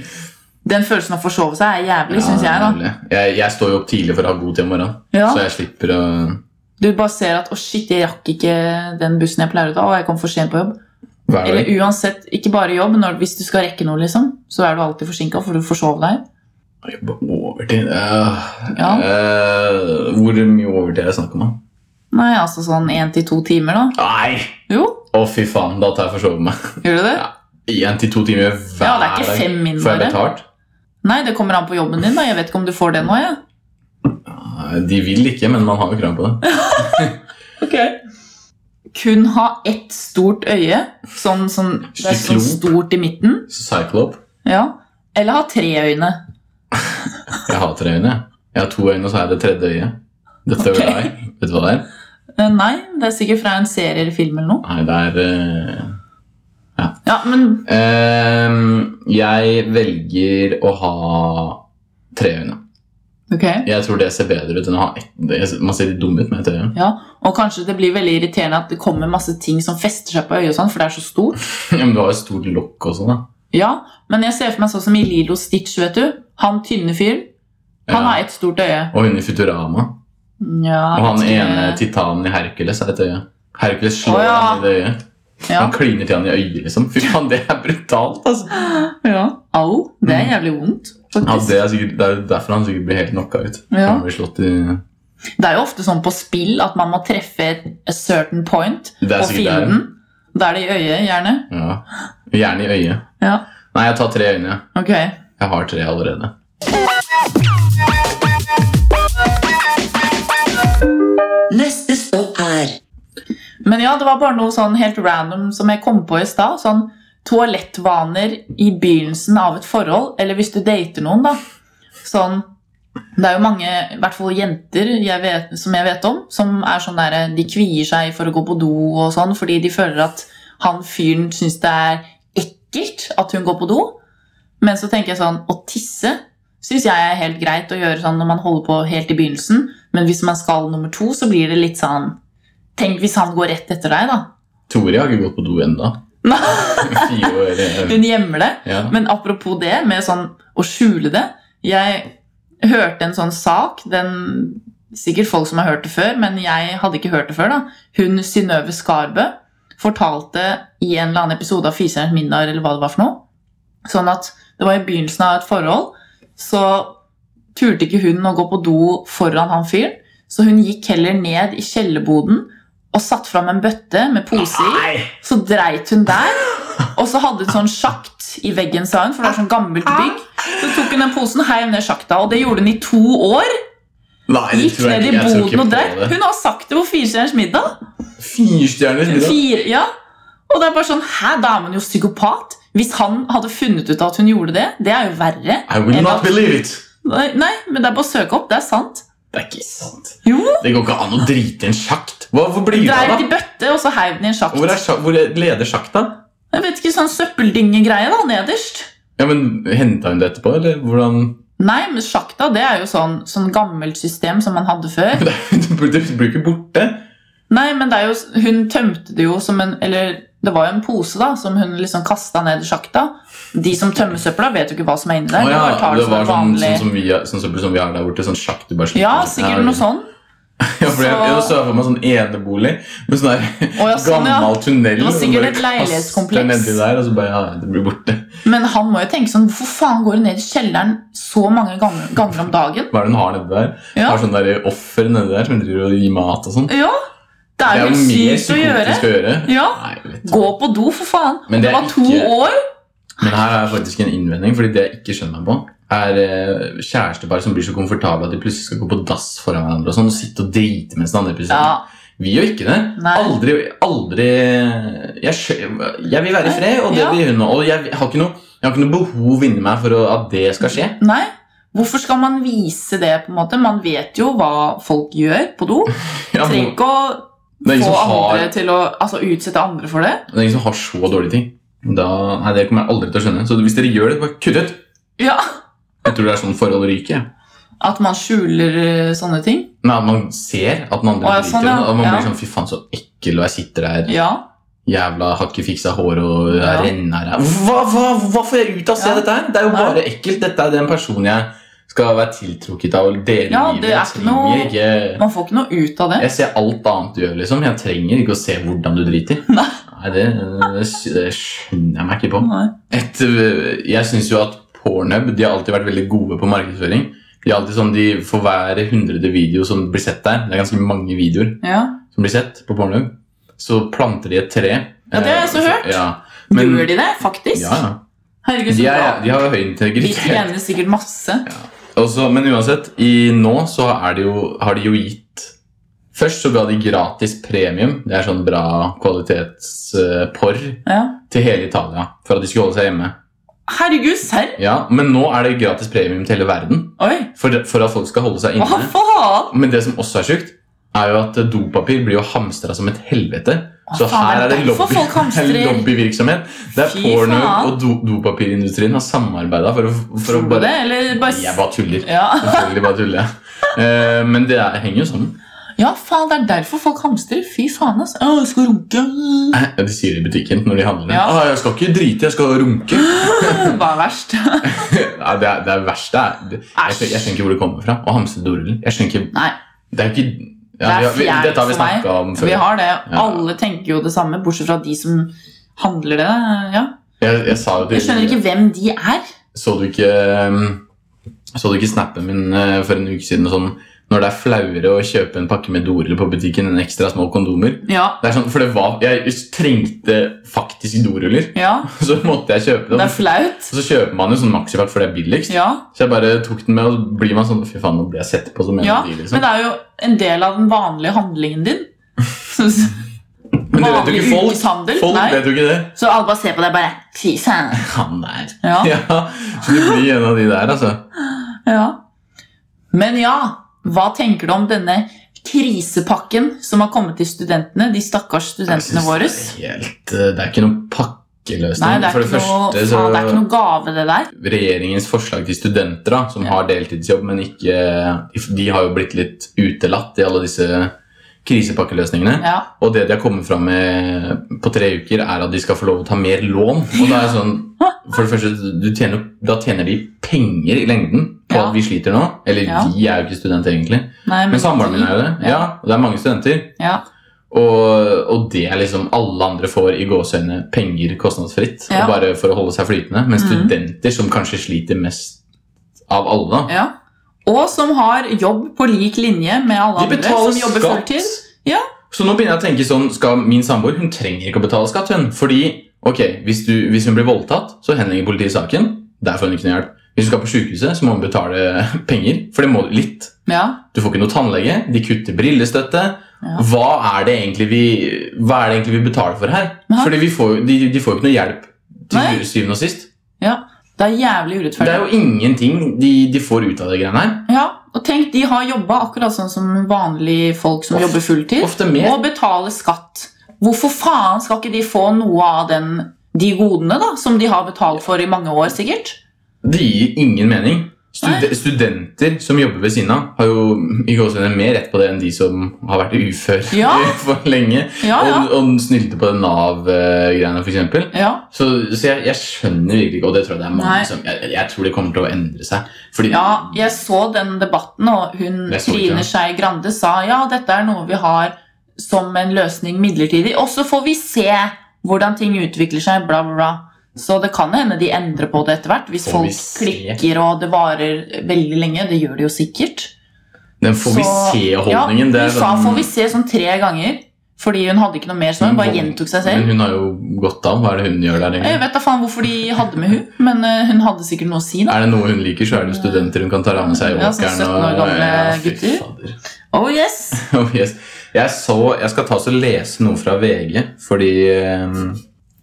Speaker 2: Den følelsen av å forsove seg er jævlig,
Speaker 3: Ja,
Speaker 2: syns jeg. da.
Speaker 3: jævlig. Jeg, jeg står jo opp tidlig for å ha god tid om morgenen,
Speaker 2: Ja.
Speaker 3: så jeg slipper å
Speaker 2: Du bare ser at 'å, shit, jeg rakk ikke den bussen jeg pleier å ta', og jeg kom for sent på jobb.
Speaker 3: Hver dag.
Speaker 2: Eller uansett, ikke bare jobb, når, hvis du skal rekke noe, liksom, så er du alltid forsinka, for du forsov deg.
Speaker 3: Jobbe overtid ja.
Speaker 2: Ja.
Speaker 3: Eh, Hvor mye overtid er det snakk om, da?
Speaker 2: Nei, altså sånn én til to timer, da.
Speaker 3: Nei!
Speaker 2: Jo,
Speaker 3: Å, fy faen, da tar jeg forsovet meg.
Speaker 2: gjør du det?
Speaker 3: Ja. Én til to timer hver
Speaker 2: Ja, det er ikke fem min,
Speaker 3: Får jeg
Speaker 2: bare.
Speaker 3: betalt?
Speaker 2: Nei, det kommer an på jobben din, da. Jeg vet ikke om du får det nå, jeg.
Speaker 3: Nei, De vil ikke, men man har jo krav på det.
Speaker 2: Kun ha ett stort øye, sånn, sånn det er sånn
Speaker 3: Syklop.
Speaker 2: stort i midten.
Speaker 3: Så Cyclop.
Speaker 2: Ja. Eller ha tre øyne.
Speaker 3: Jeg hater øyne. jeg. Jeg har to øyne, og så er det tredje øye. The third
Speaker 2: Ok.
Speaker 3: eye. Vet du hva det er?
Speaker 2: Eh, Nei, det er sikkert fra en serie eller film eller noe.
Speaker 3: Nei, det er eh,
Speaker 2: Ja, men
Speaker 3: ehm, Jeg velger å ha tre øyne.
Speaker 2: ok.
Speaker 3: Jeg tror det ser bedre ut enn å ha ett. Det- Man ser litt dum ut med ett øye.
Speaker 2: Ja, Og kanskje det blir veldig irriterende at det kommer masse ting som fester seg på øyet, og sånn, for det er så stort.
Speaker 3: Ja, men du har jo stort lokk også, da.
Speaker 2: Ja, Men jeg ser for meg sånn som i Lilo Stitch, vet du. Han tynne fyren. Han
Speaker 3: Ja.
Speaker 2: har ett stort øye.
Speaker 3: Og hun i Futurama.
Speaker 2: Ja,
Speaker 3: Og han
Speaker 2: jeg vet
Speaker 3: ene
Speaker 2: ikke.
Speaker 3: titanen i Hercules har et øye. Hercules slår
Speaker 2: Å, ja.
Speaker 3: ham i det øyet.
Speaker 2: ja.
Speaker 3: Han kliner til han i øyet, liksom. Fy faen, det er brutalt, altså.
Speaker 2: ja. Au. Det er jævlig vondt,
Speaker 3: Mm. Ja,
Speaker 2: faktisk.
Speaker 3: det, er sikkert, det er jo derfor han sikkert blir helt knocka ut.
Speaker 2: Ja.
Speaker 3: Han blir slått i...
Speaker 2: Det er jo ofte sånn på spill at man må treffe a certain point
Speaker 3: Det er
Speaker 2: på
Speaker 3: sikkert der.
Speaker 2: fienden. Da er det i øyet, gjerne.
Speaker 3: Ja. Gjerne i øyet.
Speaker 2: Ja,
Speaker 3: Nei, jeg tar tre øyne. jeg.
Speaker 2: ok.
Speaker 3: Jeg har tre allerede.
Speaker 1: Neste stopp er
Speaker 2: Men ja, det var bare noe sånn helt random som jeg kom på i stad. Sånn toalettvaner i begynnelsen av et forhold, eller hvis du dater noen, da. Sånn Det er jo mange, i hvert fall jenter jeg vet, som jeg vet om, som er sånn der, de kvier seg for å gå på do og sånn fordi de føler at han fyren syns det er ekkelt at hun går på do. Men så tenker jeg sånn Å tisse syns jeg er helt greit å gjøre sånn når man holder på helt i begynnelsen, men hvis man skal nummer to, så blir det litt sånn Tenk hvis han går rett etter deg, da.
Speaker 3: Tori har ikke gått på do ennå. Fire år eh,
Speaker 2: Hun gjemmer det.
Speaker 3: ja.
Speaker 2: Men apropos det med sånn å skjule det Jeg hørte en sånn sak den, Sikkert folk som har hørt det før, men jeg hadde ikke hørt det før. da Hun Synnøve Skarbø fortalte i en eller annen episode av Fiserens middag eller hva det var for noe Sånn at det var i begynnelsen av et forhold, så turte ikke hun å gå på do foran han fyren. Så hun gikk heller ned i kjellerboden og satte fram en bøtte med pose i.
Speaker 3: Nei!
Speaker 2: Så dreit hun der, og så hadde hun sånn sjakt i veggen, sa hun, for det var sånn gammelt bygg. Så tok hun den posen, heiv ned sjakta, og det gjorde hun i to år.
Speaker 3: Nei, det
Speaker 2: Gikk
Speaker 3: tror jeg
Speaker 2: ned i
Speaker 3: ikke. Jeg tror ikke
Speaker 2: boden og
Speaker 3: på
Speaker 2: dreit.
Speaker 3: det.
Speaker 2: Hun har sagt det på Firestjerners middag.
Speaker 3: Firestjerners middag.
Speaker 2: Fire, ja. Og det er bare sånn, hæ, da er man jo psykopat. Hvis han hadde funnet ut at hun gjorde det, det er jo verre.
Speaker 3: I will
Speaker 2: enn
Speaker 3: not
Speaker 2: at-
Speaker 3: believe it.
Speaker 2: Nei, nei, men det er bare å søke opp, det er sant.
Speaker 3: Det er ikke sant.
Speaker 2: Jo,
Speaker 3: Det går ikke an å drite i en sjakt. Hva, hvor blir det av,
Speaker 2: dreit i
Speaker 3: da?
Speaker 2: bøtte, og så heiv den i en sjakt.
Speaker 3: Hvor, er, sja- hvor er- leder sjakta?
Speaker 2: Jeg vet ikke, sånn søppeldingegreie da, nederst.
Speaker 3: Ja, men Henta hun det etterpå, eller hvordan
Speaker 2: Nei, men sjakta, det er jo sånn, sånn gammelt system som man hadde før.
Speaker 3: Det blir det blir ikke borte.
Speaker 2: Nei, men det er jo, hun tømte det jo som en Eller det var jo en pose da som hun liksom kasta ned i sjakta. De som tømmer søpla, vet jo ikke hva som er inni der.
Speaker 3: Å
Speaker 2: de
Speaker 3: ja,
Speaker 2: bare tar det
Speaker 3: det
Speaker 2: som
Speaker 3: var
Speaker 2: en
Speaker 3: sånn,
Speaker 2: vanlig...
Speaker 3: sånn, som vi, er- sånn som som vi har der borte. Sånn sjakk du bare slipper.
Speaker 2: ja, sikkert
Speaker 3: Ja,
Speaker 2: noe sånn.
Speaker 3: Ja, for jeg, jeg
Speaker 2: Så-
Speaker 3: så for meg sånn enebolig med sånn der
Speaker 2: Å, ja, sånn, ja.
Speaker 3: gammel tunnel.
Speaker 2: Det var
Speaker 3: og
Speaker 2: sikkert
Speaker 3: bare
Speaker 2: et
Speaker 3: kaster
Speaker 2: leilighetskompleks.
Speaker 3: nedi der, og så bare, ja, det blir borte.
Speaker 2: Men han må jo tenke sånn Hvorfor faen går hun ned i kjelleren så mange ganger, ganger om dagen?
Speaker 3: Hva er det hun har nedi der?
Speaker 2: Ja.
Speaker 3: Har sånn der offer nedi der som hun driver og gir mat og sånn.
Speaker 2: ja det er jo
Speaker 3: mer
Speaker 2: helt sykt å gjøre.
Speaker 3: psykotisk å gjøre.
Speaker 2: Ja.
Speaker 3: Nei, vet du.
Speaker 2: Gå på do, for faen.
Speaker 3: Men
Speaker 2: det,
Speaker 3: det er
Speaker 2: var to
Speaker 3: ikke-
Speaker 2: år.
Speaker 3: Men her er faktisk en innvending, fordi det jeg ikke skjønner meg på, er eh, kjærestepar som blir så komfortable at de plutselig skal gå på dass foran hverandre og sånn, og sitte og drite mens den andre plutselig
Speaker 2: Ja,
Speaker 3: Vi gjør ikke det.
Speaker 2: Nei.
Speaker 3: Aldri, aldri jeg, skjø- jeg vil være i fred, og det
Speaker 2: Ja.
Speaker 3: vil hun òg. Og jeg har ikke noe, jeg har ikke noe behov inni meg for å, at det skal skje.
Speaker 2: Nei. Hvorfor skal man vise det? på en måte? Man vet jo hva folk gjør på do.
Speaker 3: Ja,
Speaker 2: Trenger
Speaker 3: men
Speaker 2: ikke å
Speaker 3: det, er ingen
Speaker 2: få
Speaker 3: som
Speaker 2: andre
Speaker 3: har,
Speaker 2: til å altså, utsette andre for det.
Speaker 3: det er ingen som har så dårlige ting. Da, nei, Det kommer jeg aldri til å skjønne. Så hvis dere gjør det, bare kutt ut!
Speaker 2: Ja,
Speaker 3: Jeg tror det er sånn forhold ryker. jeg.
Speaker 2: At man skjuler eh, sånne ting.
Speaker 3: Nei, at man ser at den andre
Speaker 2: Å, ja,
Speaker 3: driter
Speaker 2: sånn,
Speaker 3: i det,
Speaker 2: ja.
Speaker 3: og man
Speaker 2: Ja.
Speaker 3: blir sånn 'fy faen, så ekkel', og jeg sitter der
Speaker 2: Ja.
Speaker 3: Jævla har ikke fiksa hår og ja.
Speaker 2: Ja.
Speaker 3: renner her. Hva, hva, hva får jeg ut av å se
Speaker 2: Ja.
Speaker 3: dette her? Det er jo
Speaker 2: Ja.
Speaker 3: bare ekkelt. Dette er den personen jeg skal være tiltrukket av og dele
Speaker 2: Ja,
Speaker 3: livet
Speaker 2: det er
Speaker 3: Jeg
Speaker 2: ikke
Speaker 3: trenger
Speaker 2: noe-
Speaker 3: ikke
Speaker 2: Man får ikke noe ut av det.
Speaker 3: Jeg ser alt annet du gjør, liksom. Jeg trenger ikke å se hvordan du driter.
Speaker 2: Nei.
Speaker 3: det, det skjønner jeg meg ikke på.
Speaker 2: Nei.
Speaker 3: Et, øh, jeg synes jo at Pornhub de har alltid vært veldig gode på markedsføring. De er alltid sånn, de For hver hundrede video som blir sett der, det er ganske mange videoer
Speaker 2: Ja.
Speaker 3: som blir sett på Pornhub, så planter de et tre.
Speaker 2: Ja, det har jeg også
Speaker 3: Eh,
Speaker 2: hørt.
Speaker 3: Ja, men,
Speaker 2: Gjør de det, faktisk?
Speaker 3: ja, ja.
Speaker 2: Herregud,
Speaker 3: De,
Speaker 2: så
Speaker 3: er, de
Speaker 2: bra.
Speaker 3: har jo høy
Speaker 2: De
Speaker 3: integritet.
Speaker 2: tjener sikkert masse.
Speaker 3: Også, men uansett, i nå så er det jo, har de jo gitt Først så ga de gratis premium, det er sånn bra kvalitetsporr,
Speaker 2: Ja.
Speaker 3: til hele Italia. For at de skulle holde seg hjemme.
Speaker 2: Herregud, serr?
Speaker 3: Ja, Men nå er det gratis premium til hele verden.
Speaker 2: Oi,
Speaker 3: For, for at folk skal holde seg
Speaker 2: hva
Speaker 3: inne.
Speaker 2: faen?
Speaker 3: Men det som også er sjukt, er jo at dopapir blir jo hamstra som et helvete.
Speaker 2: Hva
Speaker 3: Så
Speaker 2: faen,
Speaker 3: her er det
Speaker 2: derfor
Speaker 3: lobby,
Speaker 2: folk hamstrer?
Speaker 3: det er lobbyvirksomhet. Det er
Speaker 2: Fy
Speaker 3: porno
Speaker 2: faen.
Speaker 3: og do, dopapirindustrien har samarbeida for, å- for å
Speaker 2: Tror du
Speaker 3: bare
Speaker 2: det, eller bare
Speaker 3: Jeg bare tuller.
Speaker 2: ja.
Speaker 3: Selvfølgelig bare tuller jeg. Eh, men det er, henger jo sammen.
Speaker 2: ja, faen, det er derfor folk hamstrer. Fy faen, altså. Å, jeg skal runke.
Speaker 3: Eh, De sier det i butikken når de handler.
Speaker 2: Ja.
Speaker 3: Ah, 'Jeg skal ikke drite, jeg skal runke'.
Speaker 2: Hva er verst?
Speaker 3: Nei, det, er, det er verst. Det er, det- jeg, skjønner- jeg skjønner ikke hvor det kommer fra. Å hamstre doruller. Jeg skjønner ikke
Speaker 2: Nei,
Speaker 3: Det er jo ikke ja,
Speaker 2: Det er
Speaker 3: vi har- vi,
Speaker 2: fjernt
Speaker 3: Dette har vi
Speaker 2: for meg.
Speaker 3: snakka om
Speaker 2: vi
Speaker 3: før.
Speaker 2: har det.
Speaker 3: Ja.
Speaker 2: Alle tenker jo det samme, bortsett fra de som handler det. Ja.
Speaker 3: Jeg, jeg sa jo
Speaker 2: Jeg skjønner
Speaker 3: til
Speaker 2: ikke hvem de er.
Speaker 3: Så du ikke um, Så du ikke snappen min eh, for en uke siden? og Sånn, når det er flauere å kjøpe en pakke med doruller på butikken enn ekstra små kondomer.
Speaker 2: Ja,
Speaker 3: Det er sånn, for det var, Jeg trengte faktisk doruller,
Speaker 2: ja.
Speaker 3: så måtte jeg kjøpe
Speaker 2: Det
Speaker 3: dem.
Speaker 2: er flaut.
Speaker 3: Og så kjøper man jo sånn maxipack for det er billigst.
Speaker 2: Ja.
Speaker 3: Så jeg bare tok den med, og så blir man sånn Fy faen, nå blir jeg sett på som en
Speaker 2: Ja,
Speaker 3: av de, liksom.
Speaker 2: men det er jo en del av den vanlige handlingen din. Så,
Speaker 3: Men det vet jo ikke folk.
Speaker 2: yrkeshandel.
Speaker 3: Folk
Speaker 2: Nei.
Speaker 3: vet jo ikke det.
Speaker 2: Så alle bare ser på deg bare Fy faen.
Speaker 3: Han der.
Speaker 2: Ja,
Speaker 3: Ja, så du blir en av de der, altså.
Speaker 2: ja. Men ja, hva tenker du om denne krisepakken som har kommet til studentene? De stakkars
Speaker 3: Jeg
Speaker 2: studentene
Speaker 3: synes
Speaker 2: våre.
Speaker 3: Det er, helt, eh, det er ikke noen pakkeløsning.
Speaker 2: Nei, det er,
Speaker 3: for det
Speaker 2: ikke noe,
Speaker 3: første så
Speaker 2: faen, det er ikke noe gave, det der.
Speaker 3: Regjeringens forslag til studenter da, som
Speaker 2: Ja.
Speaker 3: har deltidsjobb, men ikke De har jo blitt litt utelatt i alle disse krisepakkeløsningene.
Speaker 2: Ja.
Speaker 3: Og det de har kommet fram med på tre uker, er at de skal få lov å ta mer lån. Og da er det sånn, for det første, du tjener, Da tjener de penger i lengden på
Speaker 2: Ja.
Speaker 3: at vi sliter nå. Eller
Speaker 2: Ja.
Speaker 3: vi er jo ikke studenter, egentlig.
Speaker 2: Nei,
Speaker 3: Men samboeren min er jo det.
Speaker 2: Ja.
Speaker 3: Ja, og det er mange studenter.
Speaker 2: Ja.
Speaker 3: Og, og det er liksom alle andre får i gåseøyne penger kostnadsfritt.
Speaker 2: Ja.
Speaker 3: Og bare for å holde seg flytende. Men
Speaker 2: Mhm.
Speaker 3: studenter, som kanskje sliter mest av alle, da,
Speaker 2: Ja. Og som har jobb på lik linje med alle
Speaker 3: de
Speaker 2: andre
Speaker 3: betaler
Speaker 2: som jobber
Speaker 3: skatt.
Speaker 2: fulltid. Ja.
Speaker 3: Så nå begynner jeg å tenke sånn skal Min samboer hun trenger ikke å betale skatt. hun Fordi ok, hvis, du, hvis hun blir voldtatt, så henlegger politiet saken. Der får hun ikke noe hjelp. Hvis hun skal på sykehuset, så må hun betale penger. For det må du litt.
Speaker 2: Ja.
Speaker 3: Du får ikke noe tannlege. De kutter brillestøtte.
Speaker 2: Ja.
Speaker 3: Hva, er det egentlig vi, hva er det egentlig vi betaler for her?
Speaker 2: Nei.
Speaker 3: Fordi vi får, jo- de, de får jo ikke noe hjelp
Speaker 2: Nei.
Speaker 3: til syvende og sist.
Speaker 2: Det er jævlig urettferdig.
Speaker 3: Det er jo ingenting de, de får ut av det greiene her.
Speaker 2: Ja, og tenk, de har jobba akkurat sånn som vanlige folk som
Speaker 3: Of-
Speaker 2: jobber fulltid,
Speaker 3: Ofte mer.
Speaker 2: og betaler skatt. Hvorfor faen skal ikke de få noe av den, de godene da, som de har betalt for i mange år, sikkert?
Speaker 3: Det gir ingen mening. Stud
Speaker 2: Nei.
Speaker 3: studenter som jobber ved siden av, har jo i gåsehudet mer rett på det enn de som har vært uføre
Speaker 2: Ja.
Speaker 3: for lenge.
Speaker 2: Ja, ja.
Speaker 3: Og, og snylte på det Nav-greiene, f.eks.
Speaker 2: ja.
Speaker 3: Så, så jeg, jeg skjønner virkelig ikke, og det tror jeg det er mange
Speaker 2: Nei.
Speaker 3: som jeg, jeg tror det kommer til å endre seg. Fordi
Speaker 2: Ja, jeg så den debatten, og hun
Speaker 3: Jeg så ikke
Speaker 2: Trine
Speaker 3: den.
Speaker 2: Skei Grande sa ja, dette er noe vi har som en løsning midlertidig, og så får vi se hvordan ting utvikler seg, bla, bla, bla. Så det kan hende de endrer på det etter hvert, hvis
Speaker 3: Får vi
Speaker 2: folk
Speaker 3: se.
Speaker 2: klikker og det varer veldig lenge. Det gjør det jo sikkert.
Speaker 3: den får vi
Speaker 2: Så- Ja,
Speaker 3: se-holdningen det er
Speaker 2: hun sa
Speaker 3: sånn-
Speaker 2: 'får vi se' sånn tre ganger, fordi hun hadde ikke noe mer, så hun bare gjentok seg selv.
Speaker 3: Men hun har jo gått av. Hva er det hun gjør der?
Speaker 2: Jeg
Speaker 3: egentlig?
Speaker 2: vet da faen hvorfor de hadde med hun, men eh, hun hadde sikkert noe å si, da.
Speaker 3: Er det noe hun liker, så er det jo studenter hun kan ta med seg i
Speaker 2: Ja, sånn
Speaker 3: åkeren.
Speaker 2: 17 år gamle
Speaker 3: fy
Speaker 2: gutter.
Speaker 3: fader.
Speaker 2: Oh yes!
Speaker 3: Oh, yes. jeg, så, jeg skal ta oss og lese noe fra VG, fordi eh,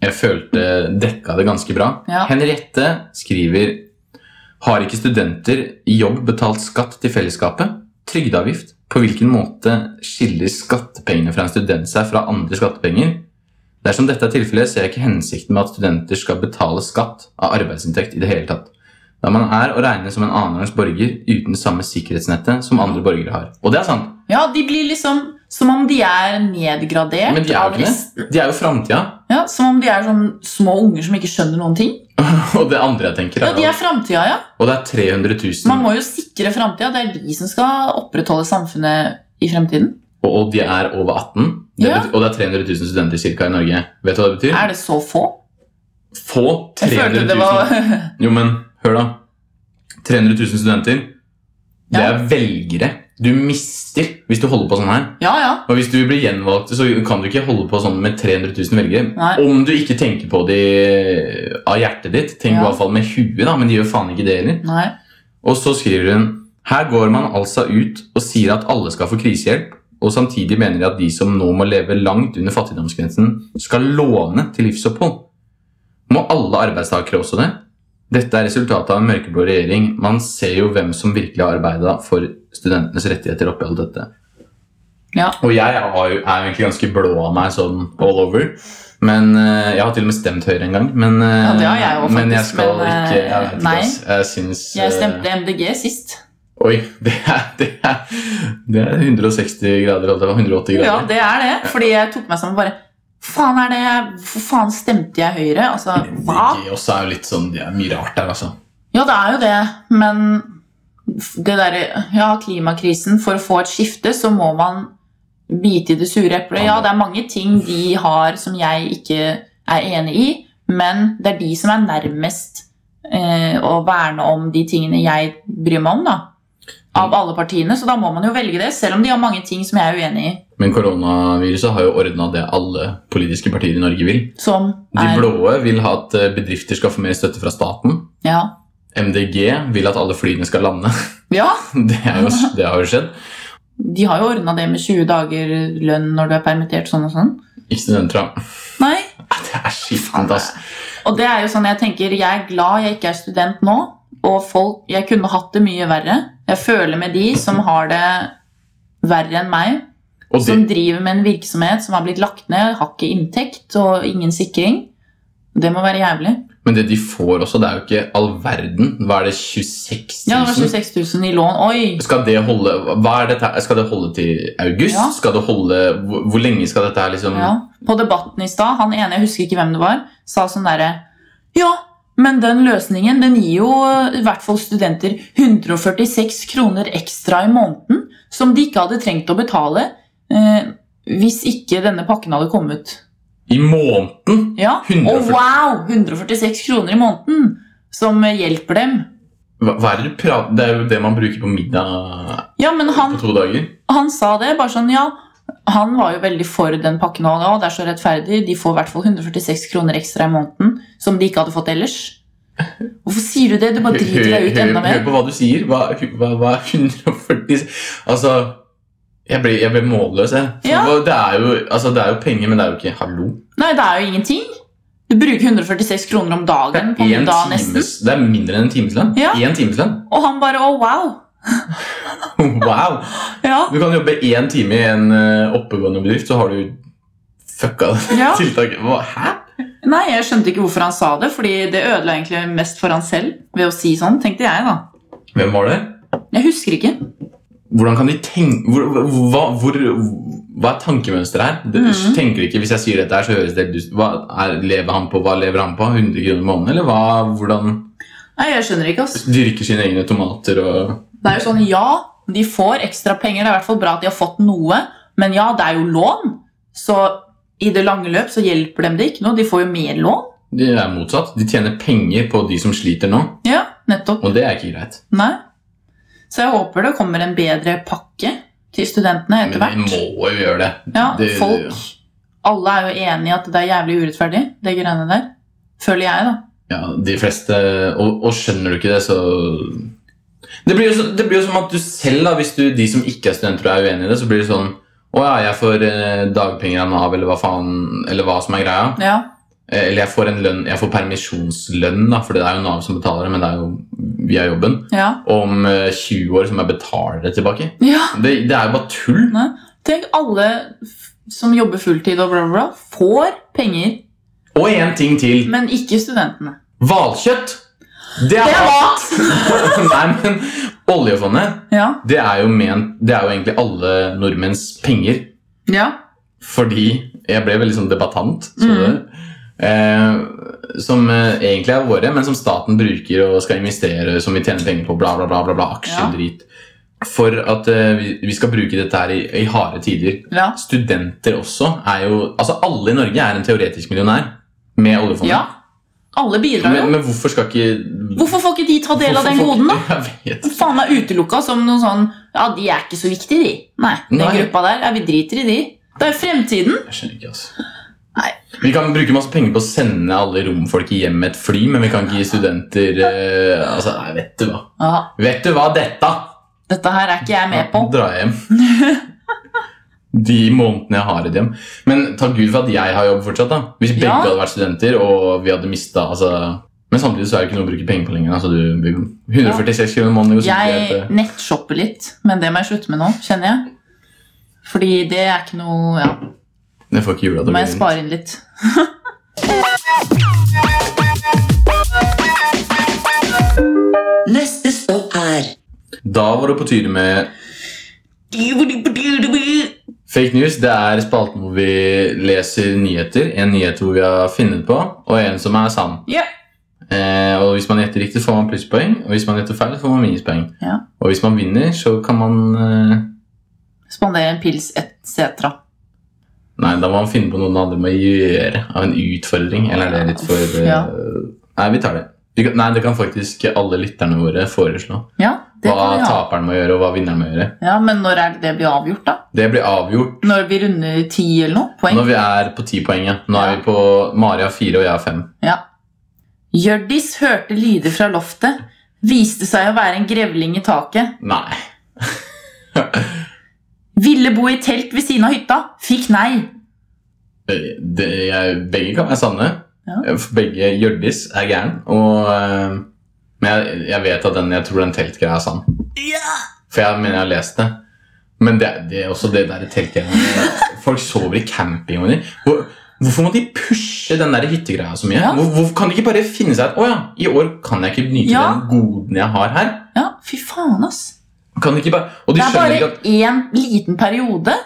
Speaker 3: jeg følte dekka det ganske bra.
Speaker 2: Ja.
Speaker 3: Henriette skriver Har ikke studenter i jobb betalt skatt til fellesskapet? Trygdeavgift? På hvilken måte skiller skattepengene fra en student seg fra andre skattepenger? Dersom dette er tilfellet, ser jeg ikke hensikten med at studenter skal betale skatt av arbeidsinntekt i det hele tatt. da man er å regne som en annenrangs borger uten samme sikkerhetsnettet som andre borgere har. Og det er sant,
Speaker 2: Ja, de blir liksom som om de er nedgradert.
Speaker 3: men de er
Speaker 2: av
Speaker 3: jo ikke
Speaker 2: resten.
Speaker 3: det. De er jo framtida.
Speaker 2: Ja, Som om de er sånn små unger som ikke skjønner noen ting.
Speaker 3: Og det andre jeg tenker
Speaker 2: Ja,
Speaker 3: er,
Speaker 2: De er
Speaker 3: at-
Speaker 2: framtida, ja.
Speaker 3: Og det er 300
Speaker 2: Man
Speaker 3: 000,
Speaker 2: må jo sikre framtida. Det er de som skal opprettholde samfunnet i fremtiden.
Speaker 3: og, og de er over 18. Det
Speaker 2: Ja.
Speaker 3: betyr, og det er 300 000 studenter cirka i Norge. Vet du hva det betyr?
Speaker 2: Er det så få?
Speaker 3: Få
Speaker 2: Jeg
Speaker 3: 300
Speaker 2: følte
Speaker 3: 000.
Speaker 2: det var
Speaker 3: Jo, men hør da. 300 000 studenter, det
Speaker 2: Ja.
Speaker 3: er velgere. Du mister hvis du holder på sånn her.
Speaker 2: Ja, ja.
Speaker 3: Og hvis du blir gjenvalgt, så kan du ikke holde på sånn med 300 000 velgere.
Speaker 2: Nei.
Speaker 3: Om du ikke tenker på de av hjertet ditt. Tenk i
Speaker 2: Ja.
Speaker 3: hvert fall med huet, da, men de gjør faen ikke det heller.
Speaker 2: Nei.
Speaker 3: Og så skriver hun Her går man altså ut og sier at alle skal få krisehjelp, og samtidig mener de at de som nå må leve langt under fattigdomsgrensen, skal låne til livsopphold. Må alle arbeidstakere også det? Dette er resultatet av en mørkeblå regjering. Man ser jo hvem som virkelig har arbeida for studentenes rettigheter oppi alt dette.
Speaker 2: Ja.
Speaker 3: Og jeg er jo, er jo egentlig ganske blå av meg sånn all over. Men eh, Jeg har til og med stemt Høyre en gang. Men, eh,
Speaker 2: Ja, det har jeg jo
Speaker 3: men jeg
Speaker 2: faktisk,
Speaker 3: skal
Speaker 2: men, eh,
Speaker 3: ikke Jeg vet ikke,
Speaker 2: nei.
Speaker 3: ass. Jeg syns
Speaker 2: Jeg
Speaker 3: eh,
Speaker 2: stemte MDG sist.
Speaker 3: Oi, det er, det er, det er 160 grader, eller det var 180 grader.
Speaker 2: Ja, det er det. Fordi jeg tok meg sammen og bare Faen er det Hvorfor faen stemte jeg Høyre? Altså, hva?
Speaker 3: DG også er jo litt sånn, det er mye rart der, altså.
Speaker 2: Ja, det er jo det, men det derre Ja, klimakrisen. For å få et skifte så må man bite i det sure eplet. Ja, det er mange ting de har som jeg ikke er enig i, men det er de som er nærmest eh, å verne om de tingene jeg bryr meg om, da. Av alle partiene, så da må man jo velge det, selv om de har mange ting som jeg er uenig i.
Speaker 3: Men koronaviruset har jo ordna det alle politiske partier i Norge vil.
Speaker 2: Som
Speaker 3: De
Speaker 2: er
Speaker 3: blåe vil ha at eh, bedrifter skal få mer støtte fra staten.
Speaker 2: Ja.
Speaker 3: MDG vil at alle flyene skal lande.
Speaker 2: ja.
Speaker 3: Det, er jo, det har jo skjedd.
Speaker 2: De har jo ordna det med 20 dager lønn når du er permittert, sånn og sånn.
Speaker 3: Ikke studenter, da.
Speaker 2: Nei.
Speaker 3: Det er skittent, ass.
Speaker 2: Og det er jo sånn jeg tenker, jeg er glad jeg ikke er student nå, og folk, jeg kunne hatt det mye verre. Jeg føler med de som har det verre enn meg,
Speaker 3: Og det,
Speaker 2: som driver med en virksomhet som har blitt lagt ned, har ikke inntekt og ingen sikring. Det må være jævlig.
Speaker 3: men det de får også, det er jo ikke all verden. Hva er det, 26 000?
Speaker 2: Ja, altså, det var 26 000 i lån. Oi!
Speaker 3: Skal det holde, hva er dette, her? skal det holde til august?
Speaker 2: Ja.
Speaker 3: Skal det holde, hvor, hvor lenge skal dette her liksom
Speaker 2: Ja. På debatten i stad, han ene, jeg husker ikke hvem det var, sa sånn derre Ja, men den løsningen den gir jo eh, i hvert fall studenter 146 kroner ekstra i måneden som de ikke hadde trengt å betale eh, hvis ikke denne pakken hadde kommet.
Speaker 3: I måneden?
Speaker 2: Ja,
Speaker 3: 140.
Speaker 2: Og wow! 146 kroner i måneden som eh, hjelper dem.
Speaker 3: Hva, hva er det du prater Det er jo det man bruker på middag
Speaker 2: Ja, men han,
Speaker 3: på to dager.
Speaker 2: han sa det bare sånn, ja. Han var jo veldig for den pakken. Og «Å, det er så rettferdig. De får i hvert fall 146 kroner ekstra i måneden som de ikke hadde fått ellers. Hvorfor sier du det? Du bare driter deg ut
Speaker 3: Hør-
Speaker 2: enda
Speaker 3: hør- Hør
Speaker 2: mer.
Speaker 3: på hva du sier. Hva, hva, hva er 140 Altså jeg ble, jeg ble målløs, jeg. For
Speaker 2: Ja.
Speaker 3: hva- Det, er jo, altså, det er jo penger, men det er jo ikke Hallo.
Speaker 2: Nei, det er jo ingenting. Du bruker 146 kroner om
Speaker 3: Det er,
Speaker 2: dagen på
Speaker 3: en
Speaker 2: middag nesten.
Speaker 3: times, det er mindre enn en timeslønn.
Speaker 2: Ja.
Speaker 3: Én timeslønn?
Speaker 2: Og han bare å, wow.
Speaker 3: Wow!
Speaker 2: Ja,
Speaker 3: Du kan jobbe én time i en eh, oppegående bedrift, så har du fucka det
Speaker 2: ja.
Speaker 3: tiltaket. Hva? Hæ?
Speaker 2: Nei, jeg skjønte ikke hvorfor han sa det, fordi det ødela egentlig mest for han selv ved å si sånn, tenkte jeg da.
Speaker 3: Hvem var det?
Speaker 2: Jeg husker ikke.
Speaker 3: Hvordan kan de tenke hvor, hva, hvor, hva er tankemønsteret her? Det,
Speaker 2: Mhm.
Speaker 3: Tenker de ikke, Hvis jeg sier dette, her, så høres det helt dust hva er- Lever han på hva lever han på? 100 kroner i måneden? Eller hva, hvordan
Speaker 2: Nei, jeg skjønner ikke, altså.
Speaker 3: dyrker sine egne tomater og
Speaker 2: Det er jo sånn, ja, de får ekstra penger, det er i hvert fall bra at de har fått noe, men ja, det er jo lån, så i det lange løp så hjelper dem det ikke noe, de får jo mer lån.
Speaker 3: Det er motsatt. De tjener penger på de som sliter nå,
Speaker 2: Ja, nettopp.
Speaker 3: og det er ikke greit.
Speaker 2: Nei. Så jeg håper det kommer en bedre pakke til studentene
Speaker 3: Men
Speaker 2: etter
Speaker 3: vi
Speaker 2: hvert.
Speaker 3: må jo gjøre det.
Speaker 2: Ja,
Speaker 3: det-
Speaker 2: folk, alle er jo enige i at det er jævlig urettferdig, det greiene der. Føler jeg da.
Speaker 3: Ja, de fleste Og, og skjønner du ikke det, så det blir, jo så det blir jo som at du selv, da, hvis du, de som ikke er studenter og er uenig i det, så blir det sånn Å ja, jeg får eh, dagpenger av Nav, eller hva faen Eller hva som er greia.
Speaker 2: Ja,
Speaker 3: Eh, Eller jeg får en lønn Jeg får permisjonslønn, da, for det er jo Nav som betaler det, men det er jo via jobben.
Speaker 2: ja.
Speaker 3: Om eh, 20 år som jeg betaler det tilbake.
Speaker 2: Ja,
Speaker 3: Det, det er jo bare tull.
Speaker 2: tenk alle f- som jobber fulltid og bla bla bla, får penger,
Speaker 3: Og én ting til.
Speaker 2: men ikke studentene.
Speaker 3: Hvalkjøtt! Det
Speaker 2: Det
Speaker 3: er
Speaker 2: er mat!
Speaker 3: Nei, men oljefondet,
Speaker 2: Ja.
Speaker 3: det er jo, ment, det er jo egentlig alle nordmenns penger.
Speaker 2: ja.
Speaker 3: Fordi jeg ble veldig sånn debattant, så
Speaker 2: Mm.
Speaker 3: du det. Eh, som eh, egentlig er våre, men som staten bruker og skal investere, som vi tjener penger på, bla, bla, bla, bla, bla
Speaker 2: Ja.
Speaker 3: aksjedrit. For at eh, vi, vi skal bruke dette her i, i harde tider.
Speaker 2: Ja.
Speaker 3: Studenter også er jo Altså, alle i Norge er en teoretisk millionær med oljefondet.
Speaker 2: ja. Alle bidrar
Speaker 3: Men,
Speaker 2: jo.
Speaker 3: men hvorfor skal ikke
Speaker 2: Hvorfor får ikke de ta del av den
Speaker 3: hvorfor-
Speaker 2: goden, da?
Speaker 3: Jeg vet.
Speaker 2: Hvem faen er utelukka som noen sånn Ja, de er ikke så viktige, de. Nei, den
Speaker 3: Nei.
Speaker 2: gruppa der, ja, vi driter i de. Det er jo fremtiden.
Speaker 3: Jeg skjønner ikke, altså.
Speaker 2: Nei.
Speaker 3: Vi kan bruke masse penger på å sende alle romfolk i hjemmet et fly, men vi kan ikke gi studenter eh, Altså, nei, vet du hva.
Speaker 2: Ja,
Speaker 3: Vet du hva dette?
Speaker 2: dette her er ikke jeg med på.
Speaker 3: Dra hjem. De månedene jeg har et hjem. Men takk Gud for at jeg har jobb fortsatt. da. Hvis begge
Speaker 2: Ja.
Speaker 3: hadde vært studenter, og vi hadde mista altså... Men samtidig så er det ikke noe å bruke penger på lenger. Altså, du, du- 146 kroner i måneden. går sikkert
Speaker 2: Jeg
Speaker 3: helt, eh,
Speaker 2: nettshopper litt, men det må jeg slutte med nå, kjenner jeg. Fordi det er ikke noe Ja,
Speaker 3: Jeg får ikke jula
Speaker 2: nå
Speaker 3: til å
Speaker 2: må
Speaker 3: gå
Speaker 2: jeg
Speaker 3: rundt.
Speaker 2: spare inn litt.
Speaker 1: Neste stopp er
Speaker 3: Da var det på tide med Fake news det er spalten hvor vi leser nyheter. En nyhet hvor vi har funnet på, og en som er sann.
Speaker 2: Ja.
Speaker 3: Eh, og Hvis man gjetter riktig, får man plusspoeng. Og hvis man gjetter feil, får man minuspoeng.
Speaker 2: Ja.
Speaker 3: Og hvis man vinner, så kan man eh,
Speaker 2: Spandere en pils etc.
Speaker 3: Nei, da må man finne på noe den andre må gjøre av en utfordring. Eller er det litt for eh,
Speaker 2: Ja.
Speaker 3: Nei, vi tar det. Vi kan, nei, Det kan faktisk alle lytterne våre foreslå.
Speaker 2: Ja, det
Speaker 3: hva
Speaker 2: kan vi ha.
Speaker 3: taperen må gjøre, og hva vinneren må gjøre.
Speaker 2: Ja, men når er det det blir avgjort, da?
Speaker 3: Det blir avgjort
Speaker 2: Når vi runder ti eller noe? Poeng?
Speaker 3: når vi er på ti poeng. Ja. Nå er
Speaker 2: Ja.
Speaker 3: vi på Mari har fire, og jeg har fem.
Speaker 2: Ja. Hjørdis hørte lyder fra loftet. Viste seg å være en grevling i taket.
Speaker 3: Nei.
Speaker 2: Ville bo i telt ved siden av hytta. Fikk nei.
Speaker 3: Eh, det, jeg, begge kan være sanne. Eh,
Speaker 2: Ja.
Speaker 3: Begge Hjørdis er gæren. Og, eh, men jeg, jeg vet at den jeg tror den teltgreia er sann. For jeg mener jeg har lest det. Men det, det er også det der teltgreia Folk sover i campingvogner. Hvor, hvorfor må de pushe den der hyttegreia så mye?
Speaker 2: Ja.
Speaker 3: Hvor, hvorfor kan de ikke bare finne seg et Å ja, i år kan jeg ikke nyte
Speaker 2: Ja.
Speaker 3: den goden jeg har her.
Speaker 2: Ja, fy faen, ass.
Speaker 3: Kan de ikke bare, og de
Speaker 2: Det er
Speaker 3: skjønner
Speaker 2: bare
Speaker 3: ikke at
Speaker 2: én liten periode.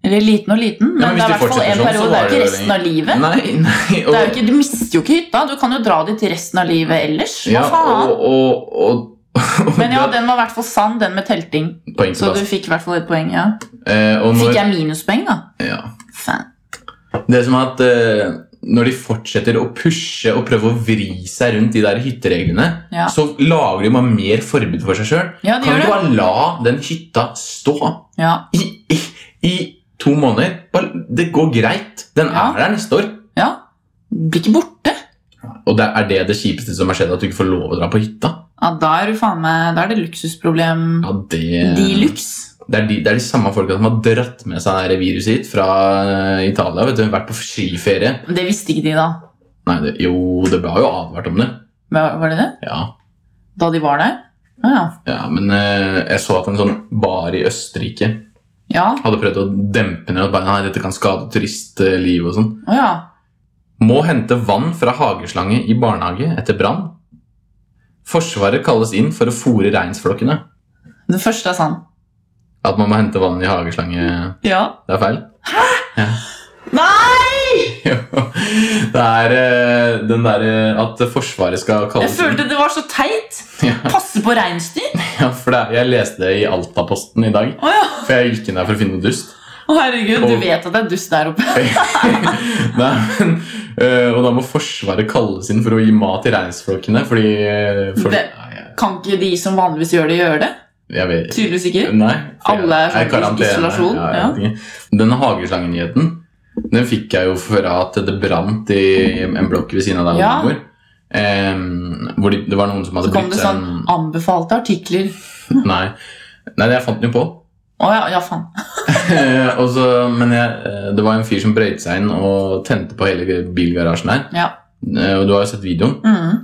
Speaker 2: Eller liten og liten, men,
Speaker 3: Ja, men
Speaker 2: det er i hvert
Speaker 3: hvis de
Speaker 2: fall
Speaker 3: fortsetter
Speaker 2: én
Speaker 3: sånn, så
Speaker 2: periode. Det er
Speaker 3: varer
Speaker 2: jo ikke
Speaker 3: det
Speaker 2: resten av livet.
Speaker 3: Nei, nei.
Speaker 2: Det er
Speaker 3: og-
Speaker 2: jo ikke, du mister jo ikke hytta. Du kan jo dra dit resten av livet ellers. Hva
Speaker 3: ja,
Speaker 2: faen?
Speaker 3: og, og, og, og
Speaker 2: Men ja, den var i hvert fall sann, den med telting.
Speaker 3: Poeng til
Speaker 2: Så du
Speaker 3: Bastian.
Speaker 2: fikk i hvert fall et poeng, ja.
Speaker 3: Eh, og når,
Speaker 2: Fikk jeg minuspoeng, da?
Speaker 3: ja.
Speaker 2: Faen.
Speaker 3: Det er som at eh, når de fortsetter å pushe og prøve å vri seg rundt de der hyttereglene,
Speaker 2: Ja.
Speaker 3: så lager de bare mer forbud for seg sjøl.
Speaker 2: Ja, det gjør
Speaker 3: Kan du
Speaker 2: det.
Speaker 3: bare la den hytta stå
Speaker 2: Ja,
Speaker 3: i, i, i to måneder? Bare, det går greit. Den
Speaker 2: Ja.
Speaker 3: er der neste år.
Speaker 2: ja. Blir ikke borte.
Speaker 3: Og det er det det kjipeste som har skjedd, at du ikke får lov å dra på hytta.
Speaker 2: Ja, da er, du faen meg, da er det luksusproblem
Speaker 3: Ja, det,
Speaker 2: de luxe.
Speaker 3: det, er de, det er de samme folka som har dratt med seg det her viruset hit fra eh, Italia. Vet du, vært på skiferie.
Speaker 2: Men Det visste ikke de da.
Speaker 3: Nei, det, jo, det ble jo advart om det.
Speaker 2: Hva- Var det det?
Speaker 3: Ja,
Speaker 2: Da de var der? Ja, ja.
Speaker 3: Ja, men eh, jeg så at en sånn bar i Østerrike
Speaker 2: Ja,
Speaker 3: hadde prøvd å dempe ned at bare, nei, dette kan skade turistliv og sånn.
Speaker 2: å ja.
Speaker 3: Må hente vann fra hageslange i barnehage etter brann. Forsvaret kalles inn for å fòre reinsflokkene.
Speaker 2: Den første er sann.
Speaker 3: At man må hente vann i hageslange,
Speaker 2: Ja.
Speaker 3: det er feil.
Speaker 2: Nei!
Speaker 3: det er eh, den derre at Forsvaret skal
Speaker 2: Jeg
Speaker 3: kalles
Speaker 2: følte det var så teit.
Speaker 3: inn. Ja,
Speaker 2: Passe på reinsdyr.
Speaker 3: ja, for det er, jeg leste det i Altaposten i dag.
Speaker 2: Å ja.
Speaker 3: For jeg gikk inn der for å finne noe dust.
Speaker 2: Å, herregud, du vet at det er dust der oppe.
Speaker 3: Nei, men, øh, og da må Forsvaret kalles inn for å gi mat til reinsflokkene. Fordi øh, folk-
Speaker 2: Det-
Speaker 3: Nei, jeg,
Speaker 2: Kan ikke de som vanligvis gjør det, gjøre det?
Speaker 3: jeg vet
Speaker 2: Tydeligvis ikke.
Speaker 3: Nei, for jeg-
Speaker 2: Alle er
Speaker 3: jeg
Speaker 2: faktisk isolasjon,
Speaker 3: Ja, jeg
Speaker 2: ja.
Speaker 3: vet ikke. Den hageslangenyheten den fikk jeg jo fra at det brant i en blokk ved siden av der hvor
Speaker 2: Ja.
Speaker 3: vi bor. Ehm, hvor de, det eh, var noen som hadde
Speaker 2: Så kom
Speaker 3: brukt
Speaker 2: det
Speaker 3: seg
Speaker 2: sånn anbefalte artikler.
Speaker 3: en Nei, Nei, jeg fant den jo på.
Speaker 2: Å ja, ja, faen.
Speaker 3: Eh, og så, men jeg, eh, det var en fyr som brøyte seg inn og tente på hele bilgarasjen her.
Speaker 2: Ja.
Speaker 3: Eh, og du har jo sett videoen.
Speaker 2: Mm.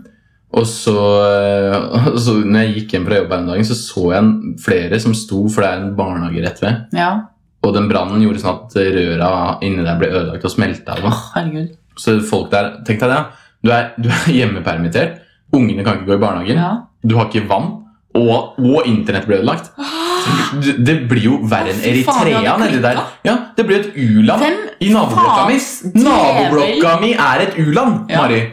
Speaker 3: Og så, eh, og så når jeg gikk hjem fra jobb her om dagen, så så jeg en- flere som sto, for det er en barnehage rett ved.
Speaker 2: Ja.
Speaker 3: Og den brannen gjorde sånn at røra inni der ble ødelagt og smelta.
Speaker 2: Å, herregud.
Speaker 3: Så folk der Tenk deg det. ja. Du er, du er hjemmepermittert. Ungene kan ikke gå i barnehagen.
Speaker 2: Ja.
Speaker 3: Du har ikke vann. Og, og internett ble ødelagt. Det- Det blir jo verre enn
Speaker 2: Ah. Å, fy faen, vi
Speaker 3: Eritrea
Speaker 2: hadde
Speaker 3: nedi der.
Speaker 2: klikket.
Speaker 3: Ja, det blir et u-land
Speaker 2: Hvem
Speaker 3: i naboblokka mi.
Speaker 2: faen
Speaker 3: Naboblokka mi er et u-land,
Speaker 2: Ja.
Speaker 3: Mari.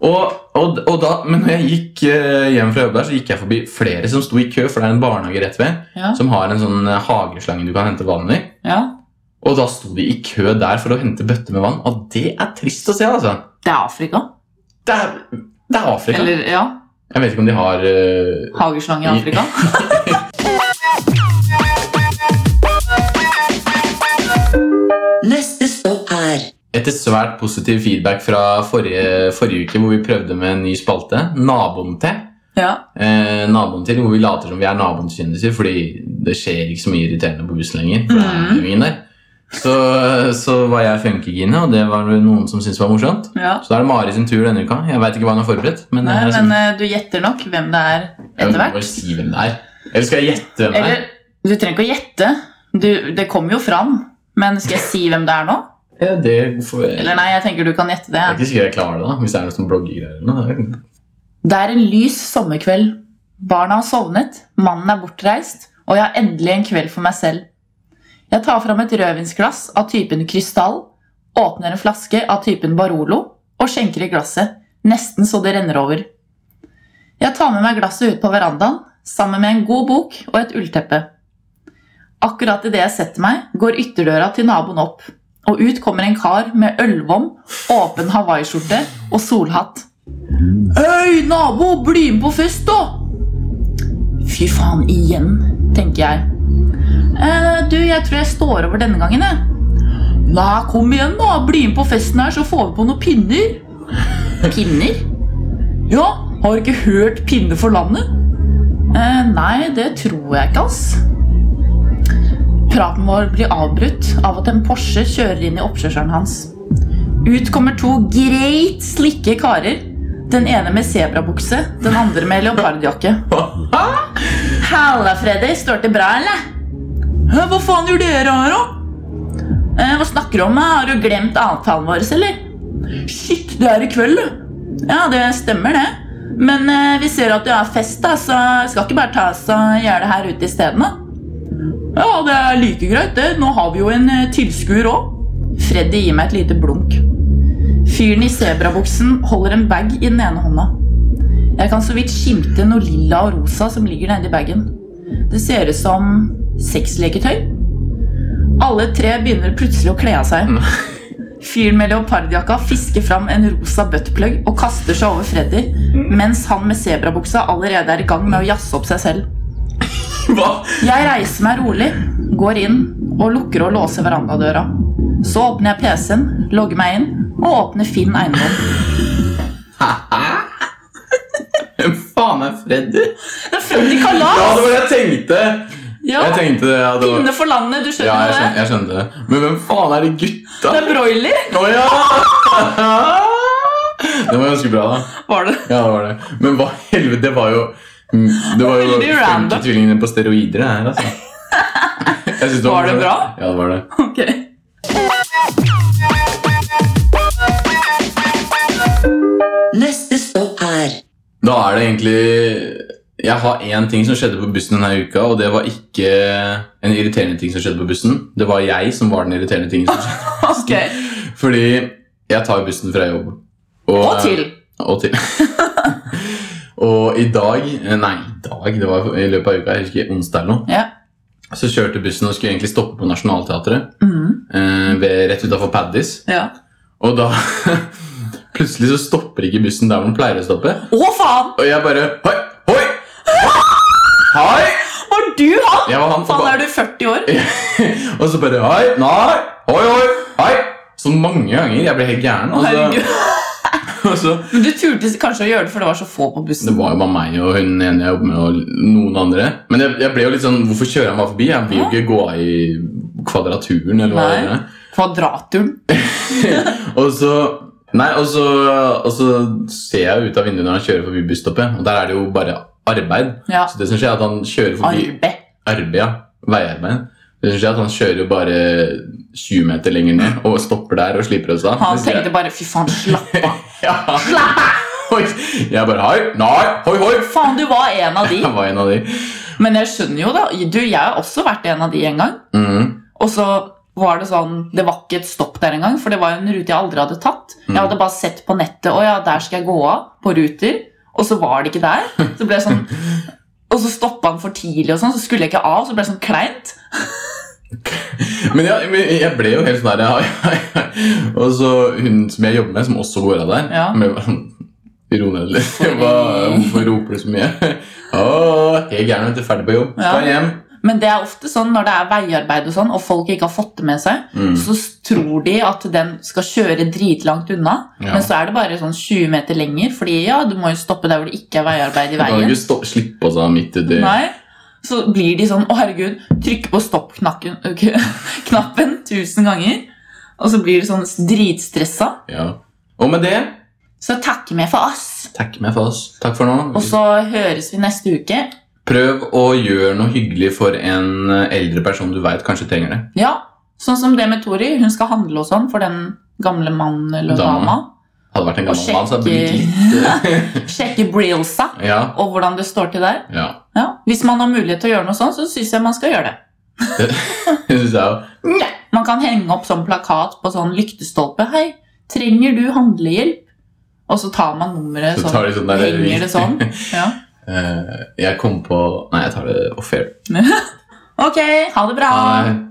Speaker 3: Og, og, og da, men når jeg gikk eh, hjem fra jobb der, så gikk jeg forbi flere som sto i kø, for det er en barnehage rett ved,
Speaker 2: Ja.
Speaker 3: som har en sånn eh, hageslange du kan hente vann i.
Speaker 2: ja.
Speaker 3: Og da sto de i kø der for å hente bøtter med vann. Og det er trist å se, altså.
Speaker 2: Det er Afrika.
Speaker 3: Det er, det er Afrika.
Speaker 2: Eller ja,
Speaker 3: Jeg vet ikke om de har eh,
Speaker 2: hageslange i
Speaker 3: I-
Speaker 2: Afrika.
Speaker 1: Neste stopp er
Speaker 3: Etter svært positiv feedback fra forrige, forrige uke, hvor vi prøvde med en ny spalte, Naboen til.
Speaker 2: Ja.
Speaker 3: Eh, naboen til, hvor vi later som vi er naboens kjendiser, fordi det skjer ikke så mye irriterende på bussen lenger. for det
Speaker 2: Mhm.
Speaker 3: er jo ingen der. Så, så var jeg funkygine, og det var det noen som syntes var morsomt.
Speaker 2: ja.
Speaker 3: Så da er det Mari sin tur denne uka. Jeg vet ikke hva hun har sånn- forberedt. men,
Speaker 2: Nei,
Speaker 3: jeg,
Speaker 2: men eh, du gjetter nok hvem det er
Speaker 3: jeg
Speaker 2: etter
Speaker 3: må
Speaker 2: hvert.
Speaker 3: bare si hvem det er. Eller skal jeg gjette hvem det er?
Speaker 2: Eller, du trenger ikke å gjette. Du, det kommer jo fram. Men skal jeg si hvem det er nå?
Speaker 3: Ja, det, får jeg,
Speaker 2: Eller nei, jeg tenker du kan gjette det.
Speaker 3: jeg er ikke sikker jeg klarer det, da, hvis det er noe sånn bloggegreier. eller noe.
Speaker 2: Det er en lys sommerkveld. Barna har sovnet, mannen er bortreist, og jeg har endelig en kveld for meg selv. Jeg tar fram et rødvinsglass av typen krystall, åpner en flaske av typen Barolo og skjenker i glasset, nesten så det renner over. Jeg tar med meg glasset ut på verandaen, sammen med en god bok og et ullteppe. Akkurat idet jeg setter meg, går ytterdøra til naboen opp, og ut kommer en kar med ølvom, åpen hawaiiskjorte og solhatt. Øy, nabo, bli med på fest, da! Fy faen, igjen, tenker jeg. Eh, du, jeg tror jeg står over denne gangen, jeg. Nei, kom igjen, da. Bli med på festen her, så får vi på noen pinner. Pinner? Ja, har du ikke hørt pinne for landet? Eh, nei, det tror jeg ikke, ass. Praten vår blir avbrutt av at en Porsche kjører inn i oppkjørselen hans. Ut kommer to greit slikke karer. Den ene med sebrabukse, den andre med leopardjakke. Halla, Freddy. Står det bra, eller? Hæ, hva faen gjør dere her, da? Eh, hva snakker du om? eh? Har du glemt avtalen vår, eller? Shit, det er i kveld, du. Ja, det stemmer, det. Men eh, vi ser at du har fest, da, så jeg skal ikke bare ta oss og gjøre det her ute isteden, da. Ja, det er like greit, det. Nå har vi jo en eh, tilskuer òg. Freddy gir meg et lite blunk. Fyren i sebrabuksen holder en bag i den ene hånda. Jeg kan så vidt skimte noe lilla og rosa som ligger nedi bagen. Det ser ut som sexleketøy. Alle tre begynner plutselig å kle av seg. Fyren med leopardjakka fisker fram en rosa buttplug og kaster seg over Freddy, mens han med sebrabuksa allerede er i gang med å jazze opp seg selv.
Speaker 3: Hva?
Speaker 2: Jeg reiser meg rolig, går inn og lukker og låser verandadøra. Så åpner jeg PC-en, logger meg inn og åpner Finn eiendom.
Speaker 3: Hvem faen er Freddy?
Speaker 2: Det er Freddy
Speaker 3: Ja, det
Speaker 2: Kalas!
Speaker 3: var det jeg tenkte!
Speaker 2: Ja,
Speaker 3: Jeg tenkte det, ja, det var...
Speaker 2: Pinne for landet, du
Speaker 3: Ja,
Speaker 2: skjønner
Speaker 3: jeg
Speaker 2: jo
Speaker 3: skjønte,
Speaker 2: det.
Speaker 3: jeg skjønte det. Men hvem faen er de gutta?
Speaker 2: Det er broiler,
Speaker 3: Å ja! Det var ganske bra, da.
Speaker 2: var det.
Speaker 3: Ja, det var det. Men hva i helvete, det var jo Det var jo
Speaker 2: Veldig random.
Speaker 3: funky tvillingene på steroider, det her, altså. Jeg synes
Speaker 2: Var det bra?
Speaker 3: Ja, det var det.
Speaker 2: Ok.
Speaker 1: Neste stopp er
Speaker 3: Da er det egentlig Jeg har én ting som skjedde på bussen denne uka, og det var ikke en irriterende ting som skjedde på bussen. Det var jeg som var den irriterende tingen som skjedde.
Speaker 2: ok.
Speaker 3: Fordi jeg tar bussen fra jobb.
Speaker 2: Og til.
Speaker 3: Og til. og i dag eh, Nei, i dag, det var i løpet av uka, jeg husker onsdag eller noe.
Speaker 2: Ja.
Speaker 3: Så kjørte bussen og skulle egentlig stoppe på Nationaltheatret.
Speaker 2: Mhm,
Speaker 3: Eh, ved, rett utafor Paddis.
Speaker 2: ja.
Speaker 3: Og da Plutselig så stopper ikke bussen der hvor den pleier å stoppe.
Speaker 2: Å, faen!
Speaker 3: Og jeg bare Hoi! Hoi! Hei!
Speaker 2: Var du han?
Speaker 3: Jeg var han
Speaker 2: Faen, er du 40 år?
Speaker 3: Og så bare Hei! Nei! Hoi, hoi! Hei! Så mange ganger. Jeg ble helt gæren.
Speaker 2: Å,
Speaker 3: Og så,
Speaker 2: herregud.
Speaker 3: og så
Speaker 2: Men du turte kanskje å gjøre det, for det var så få på
Speaker 3: Det
Speaker 2: bussen.
Speaker 3: var jo bare meg og hun ene jeg jobber med, og noen andre. Men jeg, jeg ble jo litt sånn Hvorfor kjører han meg forbi? Jeg vil jo ikke gå av i kvadraturen, eller hva det
Speaker 2: Nei.
Speaker 3: er.
Speaker 2: Kvadraturen.
Speaker 3: Og så Nei, og så, og så ser jeg ut av vinduet når han kjører forbi busstoppet, og der er det jo bare arbeid.
Speaker 2: Ja.
Speaker 3: Så det som skjer, er at han kjører forbi
Speaker 2: Arbe.
Speaker 3: arbeid, ja. Veiarbeid. Det som skjer, er at han kjører jo bare 20 meter lenger ned og stopper der og slipper oss av.
Speaker 2: Han
Speaker 3: Mens jeg-
Speaker 2: tenkte bare 'fy faen, slapp av'.
Speaker 3: ja. Og Jeg bare hei, nei, hoi, hoi.
Speaker 2: Faen, du var en av de.
Speaker 3: Jeg var en av de.
Speaker 2: Men jeg skjønner jo, da. Du, jeg har også vært en av de en gang.
Speaker 3: Mhm.
Speaker 2: Og så var det sånn Det var ikke et stopp der engang, for det var jo en rute jeg aldri hadde tatt. Jeg
Speaker 3: Mm.
Speaker 2: hadde bare sett på nettet Å ja, der skal jeg gå av, på Ruter. Og så var det ikke der. Så ble jeg sånn Og så stoppa han for tidlig, og sånn, så skulle jeg ikke av. Så ble det sånn kleint.
Speaker 3: Men ja, men jeg ble jo helt sånn der hei, hei, hei. Og så hun som jeg jobber med, som også går av der
Speaker 2: Ja.
Speaker 3: men jeg bare sånn, Ro ned litt. Hva- Hvorfor roper du så mye? Å, jeg er gæren, vet du. Ferdig på jobb.
Speaker 2: Ja.
Speaker 3: Skal hjem.
Speaker 2: Men det er ofte sånn når det er veiarbeid og sånn, og folk ikke har fått det med seg,
Speaker 3: Mm.
Speaker 2: så s- tror de at den skal kjøre dritlangt unna,
Speaker 3: Ja.
Speaker 2: men så er det bare sånn 20 meter lenger, fordi ja, du må jo stoppe der hvor det ikke er veiarbeid i
Speaker 3: Du kan jo
Speaker 2: veien.
Speaker 3: ikke stå, slippe oss av midt uti
Speaker 2: Nei. Så blir de sånn Å, herregud. Trykker på stopp-knappen knappen tusen ganger. Og så blir de sånn dritstressa.
Speaker 3: Ja. Og med det
Speaker 2: Så takk med for oss.
Speaker 3: takk meg for oss. Takk for nå.
Speaker 2: Og så høres vi neste uke.
Speaker 3: Prøv å gjøre noe hyggelig for en eldre person du veit kanskje trenger det.
Speaker 2: Ja. Sånn som det med Tori. Hun skal handle og sånn for den gamle mannen eller
Speaker 3: Dama.
Speaker 2: dama.
Speaker 3: Hadde vært en
Speaker 2: Og
Speaker 3: gammel mann, så hadde det blitt litt eh,
Speaker 2: Sjekke breelsa
Speaker 3: Ja.
Speaker 2: og hvordan det står til der.
Speaker 3: ja.
Speaker 2: Ja. Hvis man har mulighet til å gjøre noe sånn, så syns jeg man skal gjøre det.
Speaker 3: Jeg synes jeg også.
Speaker 2: Nei. Man kan henge opp sånn plakat på sånn lyktestolpe. 'Hei, trenger du handlehjelp?' Og så tar man nummeret
Speaker 3: Så
Speaker 2: sånn.
Speaker 3: tar de sånn der-
Speaker 2: henger det sånn. Ja.
Speaker 3: Eh, Jeg kom på Nei, jeg tar det off air.
Speaker 2: Ok, ha det bra.
Speaker 3: Nei.